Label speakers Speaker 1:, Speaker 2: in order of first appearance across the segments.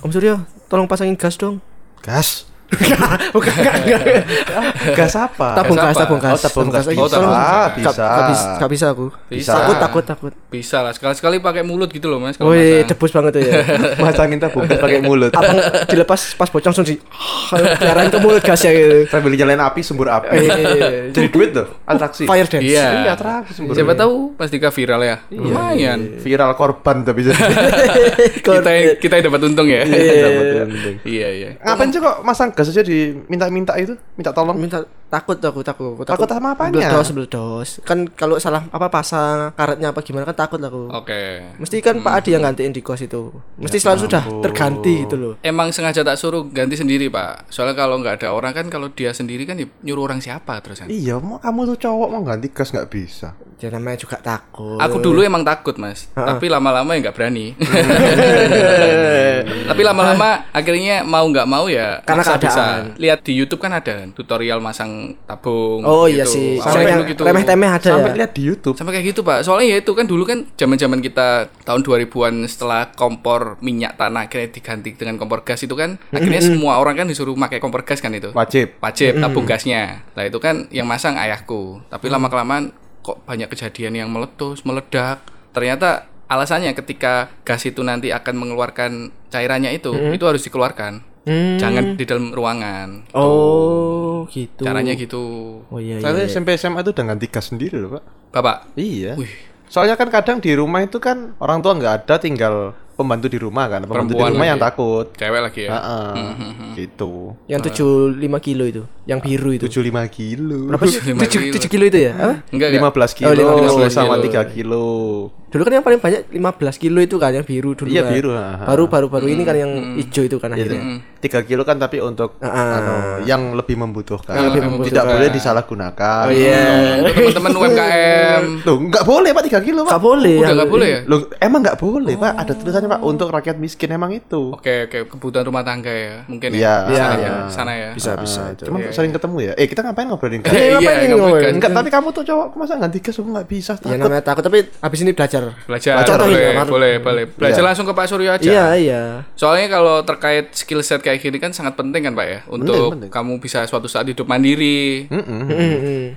Speaker 1: Om Suryo, tolong pasangin gas dong.
Speaker 2: Gas.
Speaker 1: Bukan, enggak, enggak.
Speaker 2: Gas apa?
Speaker 1: Tabung gas,
Speaker 3: apa?
Speaker 1: tabung gas.
Speaker 2: Oh, tabung gas.
Speaker 1: lagi.
Speaker 3: Oh, tabung
Speaker 1: Tolong.
Speaker 2: gas.
Speaker 1: Nggak-
Speaker 2: Bisa.
Speaker 1: nggak bis- nggak bisa aku.
Speaker 3: Bisa.
Speaker 1: Takut, takut, takut.
Speaker 3: Bisa lah sekali-sekali pakai mulut gitu loh Mas kalau
Speaker 1: Woi,
Speaker 3: masang.
Speaker 1: debus banget tuh ya.
Speaker 2: Masangin tabung gas pakai mulut.
Speaker 1: Abang dilepas pas bocor langsung di pelajaran ke mulut gasnya gitu.
Speaker 2: Sambil nyalain api sumber api.
Speaker 1: Eh,
Speaker 2: Jadi duit tuh, atraksi.
Speaker 1: Fire dance.
Speaker 3: Iya.
Speaker 2: Iya, atraksi sumber.
Speaker 3: Siapa tahu pas Dika viral ya.
Speaker 1: Iya.
Speaker 3: Lumayan.
Speaker 2: viral korban tapi jadi.
Speaker 3: Kita yang, kita yang dapat untung ya.
Speaker 2: Dapat untung.
Speaker 3: iya iya.
Speaker 2: Ngapain sih kok masang gas aja diminta-minta itu? Minta tolong.
Speaker 1: minta takut aku takut aku
Speaker 2: Takut sama apanya?
Speaker 1: Bledos, bledos. Kan kalau salah apa pasang karetnya apa gimana kan takut aku.
Speaker 3: Oke.
Speaker 1: Mesti kan Pak Adi yang gantiin di kos itu. Mesti
Speaker 2: Ya
Speaker 1: selalu sudah terganti gitu loh.
Speaker 3: Emang sengaja tak suruh ganti sendiri pak. Soalnya kalau nggak ada orang kan kalau dia sendiri kan ya nyuruh orang siapa kan? terusan.
Speaker 2: Iya, mau kamu tuh cowok mau ganti gas nggak bisa.
Speaker 1: Ya namanya juga takut.
Speaker 3: Aku dulu emang takut mas, tapi lama-lama ya nggak berani. tapi lama-lama akhirnya mau nggak mau ya.
Speaker 1: Hmm. Karena
Speaker 3: maksa bisa.
Speaker 1: keadaan.
Speaker 3: Lihat di YouTube kan ada kan, tutorial masang tabung.
Speaker 1: Oh iya sih.
Speaker 3: Gitu. Sampai
Speaker 1: Sampai yang
Speaker 3: gitu.
Speaker 1: remeh-temeh ada
Speaker 2: Sampai
Speaker 1: ya.
Speaker 2: lihat di YouTube.
Speaker 3: Sampai kayak gitu pak. Soalnya ya itu kan dulu kan zaman-zaman kita tahun 2000-an setelah kompor minyak tanah akhirnya diganti dengan kompor gas itu kan akhirnya semua orang kan disuruh pakai kompor gas kan itu.
Speaker 2: Wajib.
Speaker 3: wajib tabung gasnya. Nah itu kan yang masang ayahku. Tapi lama kelamaan kok banyak kejadian yang meletus, meledak. Ternyata alasannya ketika gas itu nanti akan mengeluarkan cairannya itu, itu harus dikeluarkan. Jangan di dalam ruangan.
Speaker 1: Oh, gitu.
Speaker 3: Caranya gitu,
Speaker 1: Oh iya iya.
Speaker 2: Saya SMP SMA itu udah ganti gas sendiri loh, Pak.
Speaker 3: bapak.
Speaker 2: Iya.
Speaker 3: Wih,
Speaker 2: Soalnya kan kadang di rumah itu kan orang tua nggak ada, tinggal pembantu di rumah kan. Pembantu
Speaker 3: Perempuan
Speaker 2: di rumah
Speaker 3: lagi.
Speaker 2: yang takut.
Speaker 3: cewek lagi ya.
Speaker 2: Heeh. Gitu.
Speaker 1: Yang 75 kilo itu, yang biru itu.
Speaker 2: 75 kilo.
Speaker 1: Berapa sih?
Speaker 3: 75
Speaker 1: 7,
Speaker 3: kilo.
Speaker 1: kilo itu ya? Apa?
Speaker 3: Enggak, enggak.
Speaker 2: 15 kilo,
Speaker 1: Oh, 15
Speaker 2: sama
Speaker 3: kilo.
Speaker 2: 3 kilo.
Speaker 1: Dulu kan yang paling banyak 15 kilo itu kan yang biru dulu
Speaker 2: Iya,
Speaker 1: kan.
Speaker 2: biru, Iya, ha, ha.
Speaker 1: Baru baru baru ini
Speaker 3: Hmm,
Speaker 1: kan yang hijau itu kan akhirnya.
Speaker 2: 3 kilo kan tapi untuk anu, yang lebih membutuhkan.
Speaker 3: Yang lebih
Speaker 2: Tidak
Speaker 3: membutuhkan.
Speaker 2: boleh disalahgunakan.
Speaker 1: Oh iya.
Speaker 3: Untuk teman-teman UMKM
Speaker 2: Loh, nggak boleh Pak 3 kilo, Pak.
Speaker 1: Enggak boleh.
Speaker 3: udah nggak boleh ya.
Speaker 2: Loh, emang nggak boleh, Pak. Ada tulisannya, Pak, untuk rakyat miskin emang itu.
Speaker 3: Oke, oke, kebutuhan rumah tangga Oh, ya, mungkin
Speaker 2: Iya,
Speaker 3: ya.
Speaker 2: iya,
Speaker 3: Sana
Speaker 2: iya.
Speaker 3: ya, sana ya.
Speaker 1: Bisa bisa itu.
Speaker 2: Cuma sering ketemu ya. Eh, kita ngapain
Speaker 3: Eh,
Speaker 2: ngobrolin gas?
Speaker 1: Iya,
Speaker 3: iya,
Speaker 1: ngapain ini
Speaker 3: nggak boleh.
Speaker 1: ngomongin?
Speaker 2: Enggak, tapi kamu tuh cowok, masa ganti gas aku nggak bisa.
Speaker 1: Ya
Speaker 2: takut.
Speaker 1: namanya takut tapi habis ini belajar.
Speaker 3: Belajar,
Speaker 1: Belajar
Speaker 3: boleh,
Speaker 1: dong,
Speaker 3: boleh,
Speaker 1: Pak.
Speaker 3: boleh, Belajar langsung ke Pak Suryo aja.
Speaker 1: Iya iya.
Speaker 3: Soalnya kalau terkait skill set kayak gini kan sangat penting kan Pak ya untuk kamu bisa suatu saat hidup mandiri.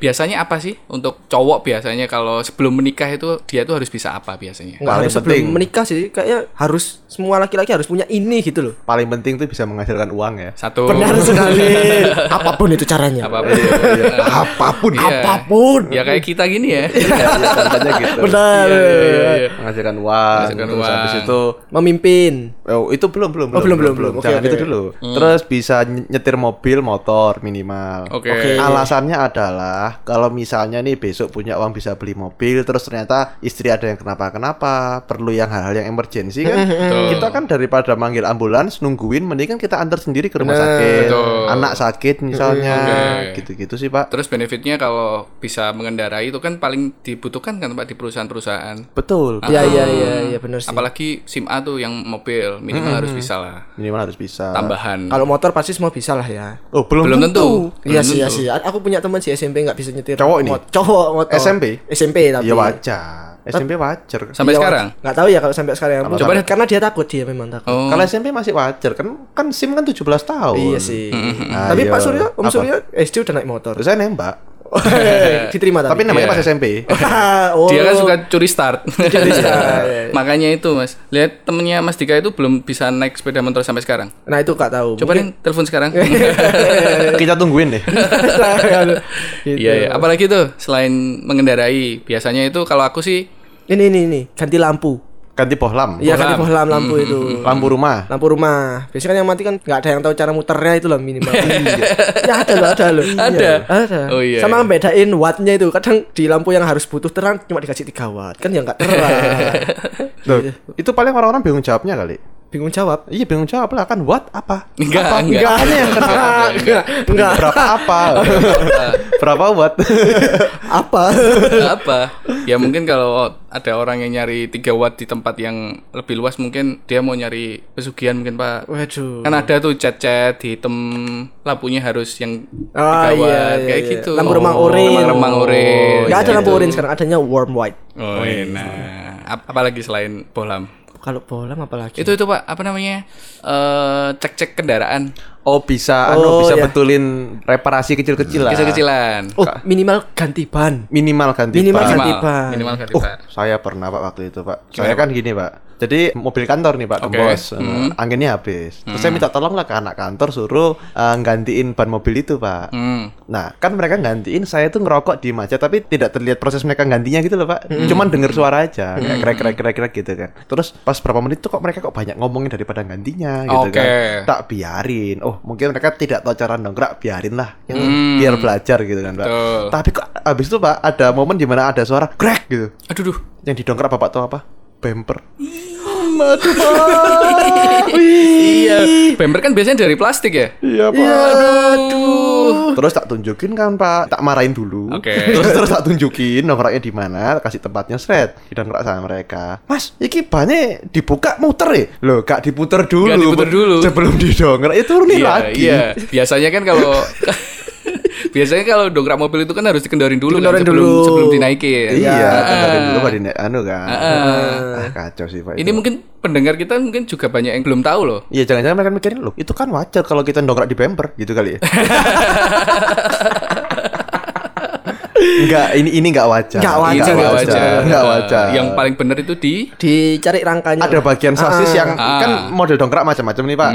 Speaker 3: Biasanya apa sih untuk cowok biasanya kalau sebelum menikah itu dia tuh harus bisa apa biasanya?
Speaker 1: Enggak
Speaker 2: Paling
Speaker 1: harus sebelum
Speaker 2: penting.
Speaker 1: menikah sih kayaknya harus semua laki-laki harus punya ini gitu loh.
Speaker 2: Paling penting tuh bisa menghasilkan uang ya.
Speaker 3: Satu
Speaker 1: Benar sekali. Apapun itu caranya.
Speaker 3: Oh. apa Iya.
Speaker 2: Apapun.
Speaker 1: Apapun.
Speaker 3: Ya kayak kita gini ya.
Speaker 2: Iya, iya, contohnya gitu.
Speaker 1: Benar.
Speaker 3: iya,
Speaker 1: iya,
Speaker 2: Menghasilkan uang.
Speaker 3: Menghasilkan
Speaker 2: terus
Speaker 3: uang.
Speaker 2: habis itu
Speaker 1: Memimpin.
Speaker 2: Oh, itu belum belum
Speaker 1: Oh, belum, belum, belum. Oke,
Speaker 2: Jangan
Speaker 1: oke.
Speaker 2: itu dulu.
Speaker 3: Hmm.
Speaker 2: Terus bisa ny- nyetir mobil, motor minimal.
Speaker 3: Oke.
Speaker 2: Alasannya adalah kalau misalnya nih besok punya uang bisa beli mobil, terus ternyata istri ada yang kenapa-kenapa, perlu yang hal-hal yang emergency
Speaker 1: Hmm,
Speaker 2: kan. kita kan daripada manggil ambulans nungguin mending kan kita antar sendiri ke rumah sakit.
Speaker 3: Betul. Hmm,
Speaker 2: Anak sakit misalnya.
Speaker 3: Oke.
Speaker 2: Gitu-gitu sih, Pak.
Speaker 3: Terus benefitnya kalau bisa mengendarai itu kan paling dibutuhkan kan Pak di perusahaan-perusahaan.
Speaker 2: Betul.
Speaker 1: Iya
Speaker 3: Ah.
Speaker 1: iya iya iya benar sih.
Speaker 3: Apalagi SIM A tuh yang mobil
Speaker 1: Mm-hmm.
Speaker 3: minimal harus bisa lah
Speaker 2: Minimal harus bisa.
Speaker 3: tambahan.
Speaker 1: Kalau motor pasti semua bisa lah ya.
Speaker 2: Oh, belum,
Speaker 3: Belum tentu.
Speaker 1: Iya
Speaker 3: Belum
Speaker 1: sih, iya
Speaker 3: tentu.
Speaker 1: sih. Aku punya teman sih SMP nggak bisa nyetir.
Speaker 2: Cowok ini?
Speaker 1: Mot- Cowok motor.
Speaker 2: SMP?
Speaker 1: SMP tapi.
Speaker 2: Ya wajar. SMP wajar.
Speaker 3: Sampai sekarang.
Speaker 1: Nggak tahu ya kalau sampai sekarang. Mungkin
Speaker 3: sampai-
Speaker 1: karena dia takut dia memang takut.
Speaker 3: Oh.
Speaker 2: Kalau SMP masih wajar kan kan SIM kan 17 tahun.
Speaker 1: Iya sih.
Speaker 2: Ayo.
Speaker 1: Tapi Pak Suryo, Om
Speaker 2: Apa?
Speaker 1: Suryo SD udah naik motor.
Speaker 2: Terus saya nembak.
Speaker 1: Diterima
Speaker 2: Tapi
Speaker 1: tapi.
Speaker 3: Iya.
Speaker 2: namanya pas SMP.
Speaker 1: oh.
Speaker 3: Dia kan suka curi start.
Speaker 1: start. Iya,
Speaker 3: Makanya itu mas. Lihat temennya Mas Dika itu belum bisa naik sepeda motor sampai sekarang.
Speaker 1: Nah itu nggak tahu.
Speaker 3: Coba nih telepon sekarang. Iya,
Speaker 1: iya.
Speaker 2: Kita tungguin deh.
Speaker 1: Gitu.
Speaker 3: Iya iya. Apalagi tuh selain mengendarai, biasanya itu kalau aku sih
Speaker 1: Ini ini ini ganti lampu.
Speaker 2: Ganti pohlam.
Speaker 1: Iya ganti bohlam lampu itu.
Speaker 2: Lampu rumah.
Speaker 1: Lampu rumah. Biasanya kan yang mati kan nggak ada yang tahu cara muternya itu loh minimal. ya ada loh, ada loh.
Speaker 3: Ada?
Speaker 1: Ada.
Speaker 3: Oh, iya.
Speaker 1: Sama bedain wattnya itu. Kadang di lampu yang harus butuh terang cuma dikasih 3 watt. Kan ya nggak terang.
Speaker 2: Loh,
Speaker 1: Iya.
Speaker 2: itu paling orang-orang bingung jawabnya kali.
Speaker 1: Bingung jawab.
Speaker 2: Iya bingung jawab lah kan what apa?
Speaker 3: Enggak,
Speaker 2: apa?
Speaker 3: enggak.
Speaker 2: Apanya yang kena?
Speaker 1: Enggak, enggak.
Speaker 2: Berapa apa? Berapa what?
Speaker 1: Apa?
Speaker 3: apa? Ya mungkin kalau ada orang yang nyari 3 watt di tempat yang lebih luas mungkin dia mau nyari pesugihan mungkin pak.
Speaker 1: Waduh.
Speaker 3: Kan ada tuh cat-cat hitam lampunya harus yang
Speaker 1: Ah,
Speaker 3: tiga
Speaker 1: iya,
Speaker 3: watt,
Speaker 1: iya,
Speaker 3: kayak
Speaker 1: iya.
Speaker 3: gitu.
Speaker 1: Lampu remang orange.
Speaker 3: Remang-remang orange.
Speaker 1: Enggak ada
Speaker 3: Iya,
Speaker 1: lampu Oh, iya.
Speaker 3: itu.
Speaker 1: orange sekarang, adanya warm white.
Speaker 3: Oh, enak. Ap- apalagi nah. selain bohlam?
Speaker 1: kalau bolam apalagi
Speaker 3: Itu itu Pak, apa namanya? Eh cek-cek kendaraan
Speaker 1: Nah.
Speaker 2: Oh
Speaker 1: Oh,
Speaker 2: bisa, anu bisa
Speaker 1: iya.
Speaker 2: betulin reparasi kecil-kecilan.
Speaker 3: kecil-kecilan.
Speaker 1: oh minimal ganti ban
Speaker 2: Minimal ganti
Speaker 1: Minimal
Speaker 2: ban.
Speaker 1: ganti
Speaker 3: minimal,
Speaker 1: ban.
Speaker 3: minimal ganti
Speaker 2: Oh,
Speaker 3: ban.
Speaker 2: saya pernah Pak waktu itu Pak. Saya kan gini Pak. Jadi mobil kantor nih Pak,
Speaker 3: Oke.
Speaker 2: kembos, Eh,
Speaker 3: Hmm.
Speaker 2: anginnya habis. Terus saya minta tolong lah ke anak kantor suruh eh, nggantiin ban mobil itu Pak.
Speaker 3: Hmm.
Speaker 2: Nah, kan mereka gantiin saya tuh ngerokok di aja tapi tidak terlihat proses mereka gantinya gitu loh, Pak.
Speaker 3: Hmm.
Speaker 2: Cuman denger suara aja, kayak krek-krek-krek-krek gitu kan. Terus pas berapa menit tuh kok mereka kok banyak ngomongin daripada gantinya gitu
Speaker 3: Oke.
Speaker 2: kan. Tak biarin. Oh, mungkin mereka tidak tahu cara nongkrak, biarin lah. Yang
Speaker 3: Hmm.
Speaker 2: biar belajar gitu kan, Pak.
Speaker 3: Betul.
Speaker 2: Tapi kok habis itu, Pak, ada momen di mana ada suara krek gitu.
Speaker 3: Aduh duh.
Speaker 2: Yang didongkrak Bapak tahu apa? Bumper.
Speaker 3: Iya, bumper kan biasanya dari plastik ya?
Speaker 2: Iya, Pak.
Speaker 3: Aduh.
Speaker 2: Terus tak tunjukin kan Pak, tak marahin dulu.
Speaker 3: Oke.
Speaker 2: Terus terus tak tunjukin nongkraknya di mana, kasih tempatnya seret. Didongkrak sama mereka. Mas, iki bannya dibuka muter ya? Loh, gak diputer dulu.
Speaker 3: Gak diputer dulu.
Speaker 2: Sebelum didongkrak itu turunin
Speaker 3: Iya,
Speaker 2: lagi.
Speaker 3: iya. Biasanya kan kalau biasanya kalau dongkrak mobil itu kan harus dikendorin dulu kan,
Speaker 1: Dikendorin
Speaker 3: sebelum
Speaker 1: dulu.
Speaker 3: sebelum dinaikin.
Speaker 2: Iya,
Speaker 3: Ah.
Speaker 2: tanggalin dulu Pak Dine- anu kan. Ah, kacau sih Pak.
Speaker 3: Ini
Speaker 2: itu.
Speaker 3: mungkin pendengar kita mungkin juga banyak yang belum tahu loh.
Speaker 2: Iya, jangan-jangan mereka mikirin loh, itu kan wajar kalau kita dongkrak di bumper gitu kali ya. Enggak, ini ini enggak wajar.
Speaker 1: Nggak
Speaker 2: Ini
Speaker 1: wajar,
Speaker 2: nggak
Speaker 1: nggak
Speaker 2: wajar. Enggak
Speaker 3: Eh,
Speaker 2: wajar.
Speaker 3: Yang paling benar itu di
Speaker 1: dicari rangkanya
Speaker 2: ada bagian sosis yang
Speaker 3: Ah. Hmm.
Speaker 2: kan model dongkrak macam-macam nih pak.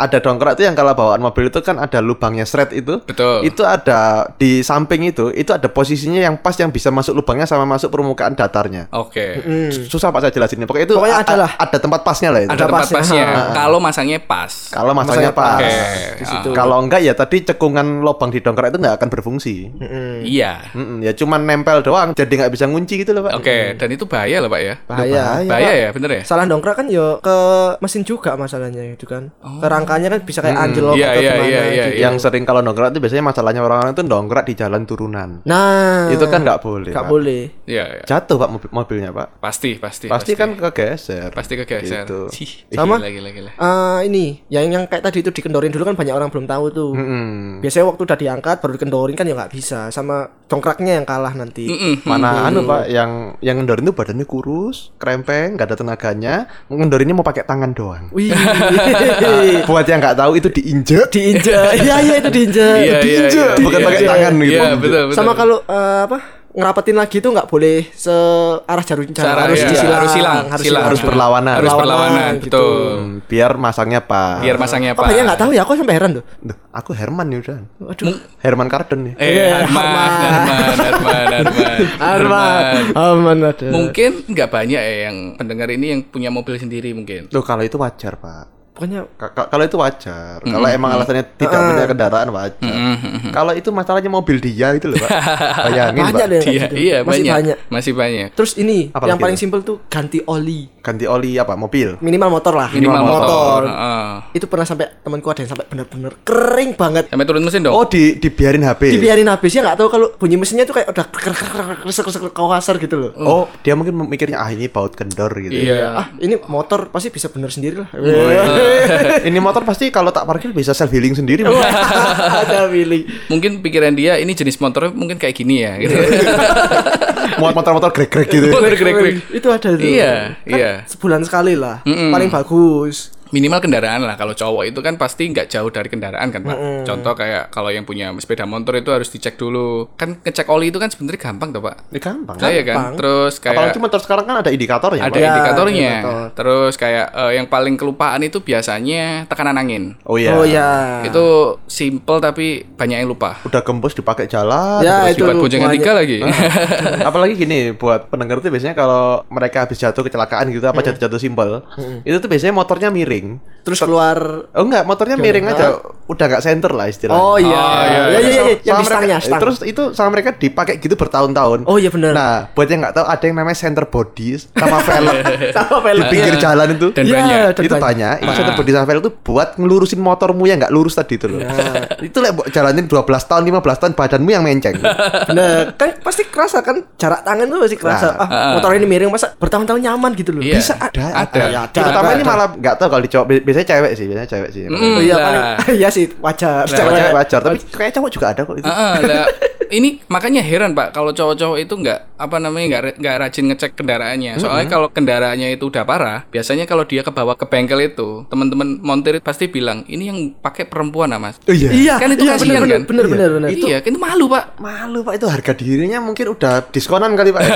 Speaker 2: Ada dongkrak itu yang kalau bawaan mobil itu kan ada lubangnya seret itu.
Speaker 3: Betul.
Speaker 2: Itu ada di samping itu, itu ada posisinya yang pas yang bisa masuk lubangnya sama masuk permukaan datarnya.
Speaker 3: Oke.
Speaker 2: Susah pak saya jelasinnya. Pokoknya itu
Speaker 1: Pokoknya
Speaker 2: a- a-
Speaker 1: ada lah.
Speaker 2: ada tempat pasnya lah itu.
Speaker 3: Ada tempat
Speaker 1: pasnya. Ah,
Speaker 3: pasnya. Kalau masangnya pas.
Speaker 2: Kalau
Speaker 1: Masanya
Speaker 2: masanya
Speaker 1: pas.
Speaker 2: pas.
Speaker 3: Oke.
Speaker 1: di
Speaker 3: ah,
Speaker 1: situ
Speaker 2: Kalau enggak ya tadi cekungan lubang di dongkrak itu nggak akan berfungsi.
Speaker 1: Mm.
Speaker 3: Iya.
Speaker 2: Mm-mm, ya cuman nempel doang, jadi nggak bisa ngunci gitu loh pak.
Speaker 3: Oke, dan itu bahaya lah, Pak ya.
Speaker 1: bahaya
Speaker 3: Bahaya
Speaker 1: Pak.
Speaker 3: ya, bener ya?
Speaker 1: salah dongkrak kan yo ke mesin juga masalahnya itu kan ke rangkanya kan bisa kayak anjlok
Speaker 3: Oh. Iya,
Speaker 1: atau
Speaker 3: iya,
Speaker 1: gimana
Speaker 3: iya, iya,
Speaker 1: gitu.
Speaker 2: Yang sering kalau dongkrak itu biasanya masalahnya orang-orang itu dongkrak di jalan turunan.
Speaker 1: nah
Speaker 2: Itu
Speaker 3: Hmm.
Speaker 2: kan nggak boleh.
Speaker 1: nggak
Speaker 2: Pak.
Speaker 1: boleh
Speaker 3: Iya, iya.
Speaker 2: Jatuh pak mobil- mobilnya pak.
Speaker 3: Pasti, Iya, pasti.
Speaker 2: Pasti, kan kegeser.
Speaker 3: pasti kegeser.
Speaker 2: Gitu.
Speaker 3: Sih,
Speaker 1: Sama?
Speaker 3: Gila, gila, gila.
Speaker 1: Ah, ini yang yang kayak tadi itu dikendorin dulu kan banyak orang belum tahu tuh
Speaker 3: Hmm.
Speaker 2: Mm-mm.
Speaker 1: biasanya waktu udah diangkat baru dikendorin kan ya nggak bisa sama dongkraknya yang kalah nanti
Speaker 3: Mm-mm.
Speaker 2: Mana anu pak yang yang ngendorin itu badannya kurus, krempeng, nggak ada tenaganya. Ngendorinnya mau pakai tangan doang.
Speaker 1: Wih,
Speaker 2: Buat yang nggak tahu itu diinjek,
Speaker 1: diinjak. Iya iya itu diinjak.
Speaker 3: Iya, iya,
Speaker 2: diinjek,
Speaker 3: iya,
Speaker 2: bukan
Speaker 3: iya,
Speaker 2: pakai
Speaker 3: iya.
Speaker 2: tangan gitu.
Speaker 3: Iya, betul, betul.
Speaker 1: Sama kalau eh, apa ngerapetin lagi itu nggak boleh searah jarum
Speaker 3: Cara,
Speaker 1: cara harus
Speaker 3: iya.
Speaker 1: disilang,
Speaker 3: Harus silang, silang.
Speaker 1: harus silang.
Speaker 2: Harus berlawanan.
Speaker 3: Harus
Speaker 1: Berlawanan,
Speaker 3: berlawanan,
Speaker 1: gitu.
Speaker 3: betul.
Speaker 2: Hmm, biar masangnya pak.
Speaker 3: Biar masangnya
Speaker 1: Kok
Speaker 3: pas.
Speaker 1: banyak nggak tahu ya? Aku sampai heran tuh.
Speaker 2: Duh, aku Herman ya udah.
Speaker 3: Hmm.
Speaker 1: Aduh.
Speaker 2: Herman Karden ya.
Speaker 3: Eh,
Speaker 1: Iya,
Speaker 3: Arman, Arman, Arman, Arman, Arman.
Speaker 1: Aman ada.
Speaker 3: Mungkin nggak banyak ya yang pendengar ini yang punya mobil sendiri mungkin.
Speaker 2: Loh kalau itu wajar pak.
Speaker 1: Pokoknya
Speaker 2: Ka- ka- Kalau itu wajar. Kalau emang alasannya tidak punya kendaraan wajar. Kalau itu masalahnya mobil dia itu loh pak. Bayangin
Speaker 1: banyak
Speaker 2: pak.
Speaker 1: deh yang kayak
Speaker 3: Iya,
Speaker 1: gitu.
Speaker 3: iya
Speaker 1: Masih
Speaker 3: banyak.
Speaker 1: banyak.
Speaker 3: Masih banyak.
Speaker 1: Terus ini
Speaker 2: Apa
Speaker 1: yang
Speaker 2: lagi
Speaker 1: paling
Speaker 2: tuh?
Speaker 1: simpel tuh ganti oli.
Speaker 2: Ganti oli apa mobil?
Speaker 1: Minimal motor lah.
Speaker 3: Minimal motor.
Speaker 1: Itu pernah sampai temanku ada yang sampai bener-bener kering banget.
Speaker 3: Sampai turun mesin dong.
Speaker 2: Oh di dibiarin HP.
Speaker 1: Dibiarin habis ya nggak tahu kalau bunyi mesinnya tuh kayak udah krek, krek, krek, krek, krek, krek, kasar gitu loh.
Speaker 2: Oh dia mungkin mikirnya ah ini baut kendor gitu.
Speaker 3: Iya.
Speaker 1: Ah, ini motor pasti bisa bener sendiri lah.
Speaker 2: ini motor pasti kalau tak parkir bisa self healing sendiri. Pak.
Speaker 1: ada feeling.
Speaker 3: Mungkin pikiran dia ini jenis motornya mungkin kayak gini ya. Gitu.
Speaker 2: Muat motor-motor grek-grek gitu.
Speaker 3: Motor grek-grek.
Speaker 1: Itu ada tuh.
Speaker 3: Iya,
Speaker 1: Kan
Speaker 3: iya.
Speaker 1: Sebulan sekali lah. Paling bagus.
Speaker 3: Minimal kendaraan lah. Kalau cowok itu kan pasti nggak jauh dari kendaraan kan pak. Contoh kayak kalau yang punya sepeda motor itu harus dicek dulu. Kan ngecek oli itu kan sebenarnya gampang toh pak.
Speaker 2: Ini gampang.
Speaker 3: Nah,
Speaker 2: Kan?
Speaker 3: iya kan. Terus kayak
Speaker 2: Apalagi motor sekarang kan ada indikatornya.
Speaker 3: ada ya.
Speaker 2: Pak.
Speaker 3: indikatornya.
Speaker 1: indikator.
Speaker 3: Terus kayak eh, yang paling kelupaan itu biasanya tekanan angin.
Speaker 2: Oh iya.
Speaker 1: Oh ya.
Speaker 3: Itu simple tapi banyak yang lupa.
Speaker 2: Udah gembos dipakai jalan.
Speaker 1: Ya,
Speaker 2: terus
Speaker 1: itu
Speaker 3: Buat boncengan
Speaker 1: banyak.
Speaker 3: tiga lagi.
Speaker 2: Nah. Apalagi gini buat pendengar tuh biasanya kalau mereka habis jatuh kecelakaan gitu
Speaker 1: Hmm.
Speaker 2: apa jatuh-jatuh simpel, itu tuh biasanya motornya miring.
Speaker 1: Terus keluar
Speaker 2: Oh enggak, motornya miring aja, udah nggak center lah istilahnya.
Speaker 1: Oh iya.
Speaker 3: iya,
Speaker 1: Ya ya ya, yang
Speaker 2: Sama
Speaker 1: di stangnya,
Speaker 2: mereka-
Speaker 1: stang.
Speaker 2: Terus itu sama mereka dipakai gitu bertahun-tahun.
Speaker 1: Oh iya bener.
Speaker 2: Nah, buat yang nggak tahu ada yang namanya center body sama velg.
Speaker 1: Sama
Speaker 2: di
Speaker 1: velg.
Speaker 2: pinggir
Speaker 3: Iya.
Speaker 2: jalan itu.
Speaker 3: Dan
Speaker 1: Iya,
Speaker 3: banyak.
Speaker 1: dan Nah.
Speaker 2: itu banyak. Itu center body sama velg itu buat ngelurusin motormu yang nggak lurus tadi itu loh.
Speaker 1: Nah.
Speaker 2: itu lah buat jalanin 12 tahun, 15 tahun badanmu yang menceng.
Speaker 1: Bener. Kan pasti kerasa kan jarak tangan tuh pasti kerasa.
Speaker 2: Nah.
Speaker 1: ah, motor ini miring masa bertahun-tahun nyaman gitu loh.
Speaker 3: Iya.
Speaker 1: Bisa
Speaker 2: ada,
Speaker 3: Ada.
Speaker 2: ada.
Speaker 1: Ya, ada,
Speaker 2: Terutama
Speaker 1: ada,
Speaker 2: ini
Speaker 1: ada.
Speaker 2: malah nggak tahu kalau di cowok biasanya cewek sih, biasanya cewek sih.
Speaker 3: Mm-mm.
Speaker 1: Oh iya
Speaker 3: Lah.
Speaker 1: paling iya sih wajar.
Speaker 2: Cewek,
Speaker 1: Cewek.
Speaker 2: wajar, tapi kayak cowok juga ada kok itu.
Speaker 3: Heeh, lah. ini makanya heran pak kalau cowok-cowok itu nggak apa namanya nggak re- nggak rajin ngecek kendaraannya. Soalnya kalau kendaraannya itu udah parah, biasanya kalau dia ke bawah ke bengkel itu, teman-teman montir pasti bilang, "Ini yang pakai perempuan, ah, Mas."
Speaker 2: iya.
Speaker 1: Iya,
Speaker 3: Kan itu
Speaker 1: iya,
Speaker 3: kasihan,
Speaker 1: bener,
Speaker 3: kan?
Speaker 1: Bener bener bener.
Speaker 3: Iya, kan itu malu, Pak.
Speaker 2: Malu Pak itu harga dirinya mungkin udah diskonan kali Pak. ya.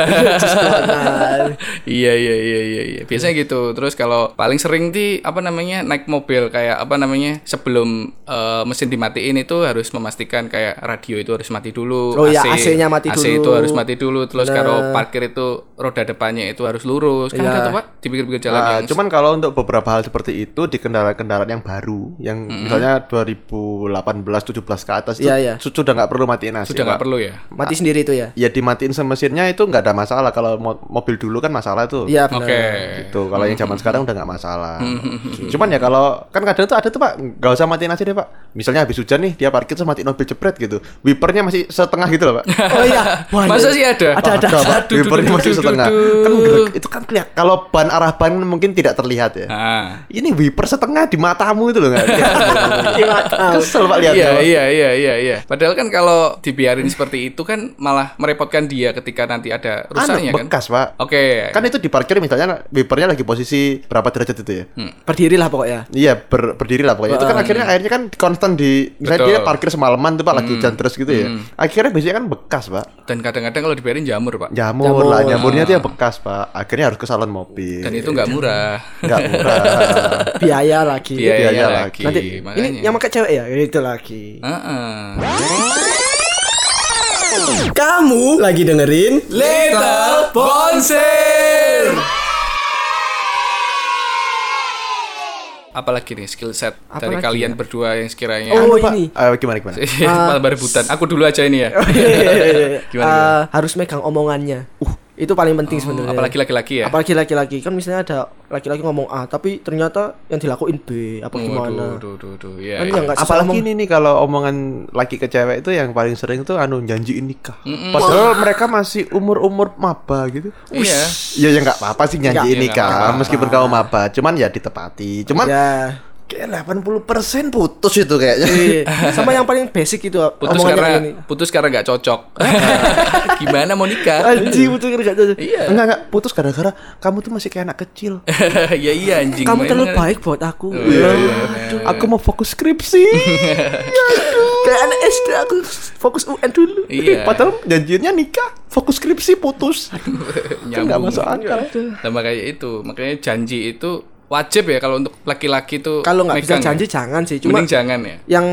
Speaker 3: iya, iya, iya, iya, iya. Biasanya gitu. Terus kalau paling sering di apa namanya naik mobil kayak apa namanya sebelum eh, mesin dimatiin itu harus memastikan kayak radio itu harus mati dulu.
Speaker 1: Oh iya, AC-nya mati
Speaker 3: AC
Speaker 1: dulu.
Speaker 3: itu harus mati dulu. Terus kalau parkir itu roda depannya itu harus lurus.
Speaker 1: Iya.
Speaker 3: Kan ada tuh, Pak, di pinggir-pinggir jalan ya,
Speaker 2: Nah,
Speaker 3: yang
Speaker 2: cuman kalau untuk beberapa hal seperti itu di kendaraan-kendaraan yang baru, yang misalnya 2018-17 ke atas itu
Speaker 1: Iya, iya.
Speaker 2: su- sudah nggak perlu matiin AC.
Speaker 3: sudah nggak
Speaker 2: Pak.
Speaker 3: perlu ya.
Speaker 1: Mati sendiri itu ya.
Speaker 2: Ya dimatiin mesinnya itu nggak ada masalah. Kalau mo- mobil dulu kan masalah tuh.
Speaker 1: Iya
Speaker 3: Oke.
Speaker 1: bener.
Speaker 2: Gitu. Kalau yang zaman sekarang udah nggak masalah. Cuman ya kalau kan kadang tuh ada tuh Pak, nggak usah matiin AC deh Pak. Misalnya habis hujan nih, dia parkir terus matiin mobil jepret gitu. Wipernya masih setengah gitu loh Pak.
Speaker 1: Oh iya. Wah,
Speaker 3: Masa sih ada?
Speaker 1: Ada, ada.
Speaker 2: Pak.
Speaker 3: Aduh,
Speaker 2: Wipernya
Speaker 3: duh,
Speaker 2: masih
Speaker 3: duh, duh,
Speaker 2: setengah.
Speaker 3: duh.
Speaker 2: Kan gerek- itu kan kelihatan kalau ban arah ban mungkin tidak terlihat ya.
Speaker 3: Ah.
Speaker 2: ini wiper setengah di matamu itu loh nggak
Speaker 1: Di mata.
Speaker 2: kesel pak ya. lihatnya
Speaker 3: Iya iya iya iya iya. Padahal kan kalau dibiarin seperti itu kan malah merepotkan dia ketika nanti ada rusaknya
Speaker 2: anu
Speaker 3: kan.
Speaker 2: bekas pak
Speaker 3: Oke.
Speaker 2: kan itu diparkir misalnya wipernya lagi posisi berapa derajat itu ya
Speaker 1: Berdirilah pokoknya.
Speaker 2: iya ber- berdiri lah pokoknya
Speaker 1: Ah.
Speaker 2: itu kan akhirnya airnya kan konstan di misalnya
Speaker 3: Betul.
Speaker 2: dia parkir semalaman tuh pak
Speaker 1: Hmm.
Speaker 2: lagi hujan terus gitu ya akhirnya biasanya kan bekas pak
Speaker 3: Dan kadang-kadang kalau dibiarin jamur pak.
Speaker 2: jamur,
Speaker 1: Jamur. Ah.
Speaker 2: lah jamurnya tuh ya bekas pak akhirnya harus ke salon mobil
Speaker 1: Iya,
Speaker 3: Dan itu nggak murah.
Speaker 2: nggak murah
Speaker 1: Biaya lagi.
Speaker 2: biaya
Speaker 3: Biaya
Speaker 2: lagi.
Speaker 3: lagi.
Speaker 1: Nanti
Speaker 3: Iya, Makanya.
Speaker 1: Iya, ini yang pakai cewek ya? Itu lagi.
Speaker 3: Heeh.
Speaker 1: Kamu lagi dengerin
Speaker 3: Little Bonser. Apalagi nih skill set dari kalian berdua yang sekiranya
Speaker 1: ya? Oh, ah.
Speaker 2: Pak,
Speaker 1: ini.
Speaker 2: eh, gimana gimana
Speaker 3: malah berebutan. Aku dulu aja ini ya. Gimana,
Speaker 1: Eh, harus megang omongannya. Uh, itu paling penting sebenarnya.
Speaker 3: Apalagi laki-laki ya.
Speaker 1: Apalagi laki-laki kan misalnya ada laki-laki ngomong A tapi ternyata yang dilakuin B apa gimana.
Speaker 3: Waduh, duh, duh, duh. Iya,
Speaker 1: Kan
Speaker 3: iya.
Speaker 1: ya nggak sesuai
Speaker 2: Apalagi
Speaker 1: omong-
Speaker 2: ini nih kalau omongan laki ke cewek itu yang paling sering tuh anu janjiin nikah. Padahal mereka masih umur-umur maba gitu.
Speaker 3: Iya.
Speaker 2: Ya ya nggak apa-apa sih
Speaker 1: Nggak,
Speaker 2: janjiin
Speaker 1: ya
Speaker 2: nikah meskipun kamu maba, cuman ya ditepati. Cuman
Speaker 1: Ya.
Speaker 2: kayak 80% putus itu kayaknya.
Speaker 1: Iya. Sama yang paling basic itu
Speaker 3: putus
Speaker 1: omongannya
Speaker 3: karena
Speaker 1: kayak gini.
Speaker 3: putus karena nggak cocok gimana mau nikah
Speaker 1: Anjing putus karena nggak cocok.
Speaker 2: Iya. Enggak enggak putus gara-gara kamu tuh masih kayak anak kecil.
Speaker 3: ya iya anjing
Speaker 1: Kamu
Speaker 3: Emang-
Speaker 1: terlalu baik buat aku.
Speaker 3: Iya,
Speaker 2: iya. Aduh, aku mau fokus skripsi. Aduh.
Speaker 1: Kayak anak SD aku fokus UN dulu.
Speaker 3: Iya.
Speaker 2: Padahal janjiannya nikah, fokus skripsi putus. Kan nggak
Speaker 3: Nyambung.
Speaker 2: masuk akal.
Speaker 3: nah, makanya itu makanya janji itu wajib ya kalau untuk laki-laki tuh
Speaker 1: Kalau nggak
Speaker 3: megang
Speaker 1: bisa
Speaker 3: ya.
Speaker 1: janji jangan sih. Cuma
Speaker 3: mending jangan ya
Speaker 1: yang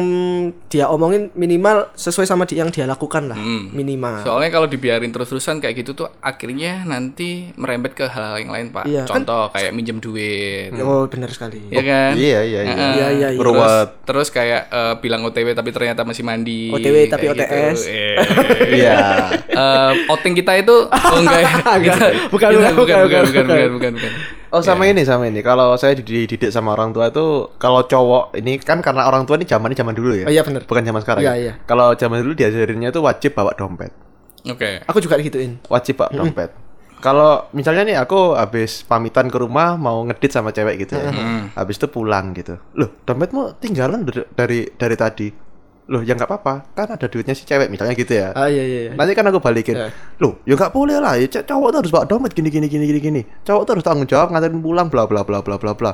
Speaker 1: dia omongin minimal sesuai sama di- yang dia lakukan lah
Speaker 3: Hmm.
Speaker 1: minimal.
Speaker 3: soalnya kalau dibiarin terus-terusan kayak gitu tuh akhirnya nanti merembet ke hal-hal yang lain pak
Speaker 1: Iya, kan-
Speaker 3: contoh kayak minjem duit
Speaker 1: Oh benar sekali.
Speaker 3: ya kan
Speaker 2: Iya iya iya.
Speaker 3: Heeh.
Speaker 1: Iya, iya, iya.
Speaker 2: Ruwet.
Speaker 3: Terus, terus kayak eh, bilang OTW tapi ternyata masih mandi.
Speaker 1: OTW tapi
Speaker 3: kayak
Speaker 1: OTS.
Speaker 3: Gitu. Eh.
Speaker 2: Iya.
Speaker 3: Eh, outing kita itu oh enggak ya.
Speaker 1: Enggak.
Speaker 3: Kita-
Speaker 1: Bukan,
Speaker 3: kita-
Speaker 1: bukan, bukan,
Speaker 3: bukan, bukan,
Speaker 1: bukan.
Speaker 3: bukan, bukan, bukan.
Speaker 2: Oh sama ini sama ini. Kalau saya dididik sama orang tua itu kalau cowok ini kan karena orang tua ini zamannya zaman dulu ya.
Speaker 1: Oh, iya, bener.
Speaker 2: Bukan zaman sekarang.
Speaker 1: Iya,
Speaker 2: ya.
Speaker 1: iya.
Speaker 2: Kalau zaman dulu diajarinnya itu wajib bawa dompet.
Speaker 3: Oke.
Speaker 1: Aku juga gituin.
Speaker 2: Wajib bawa dompet. Kalau misalnya nih aku habis pamitan ke rumah mau ngedit sama cewek gitu ya. Habis itu pulang gitu. Loh, dompetmu tinggalan dari dari, dari tadi. Loh, ya nggak apa-apa. Kan ada duitnya si cewek misalnya gitu ya.
Speaker 1: Ah iya iya. iya.
Speaker 2: Nanti kan aku balikin.
Speaker 1: Ya.
Speaker 2: Loh, ya nggak boleh lah. Ya, cek cowok tuh harus bawa dompet gini gini gini gini gini. Cowok tuh harus tanggung jawab nganterin pulang bla bla bla bla bla bla.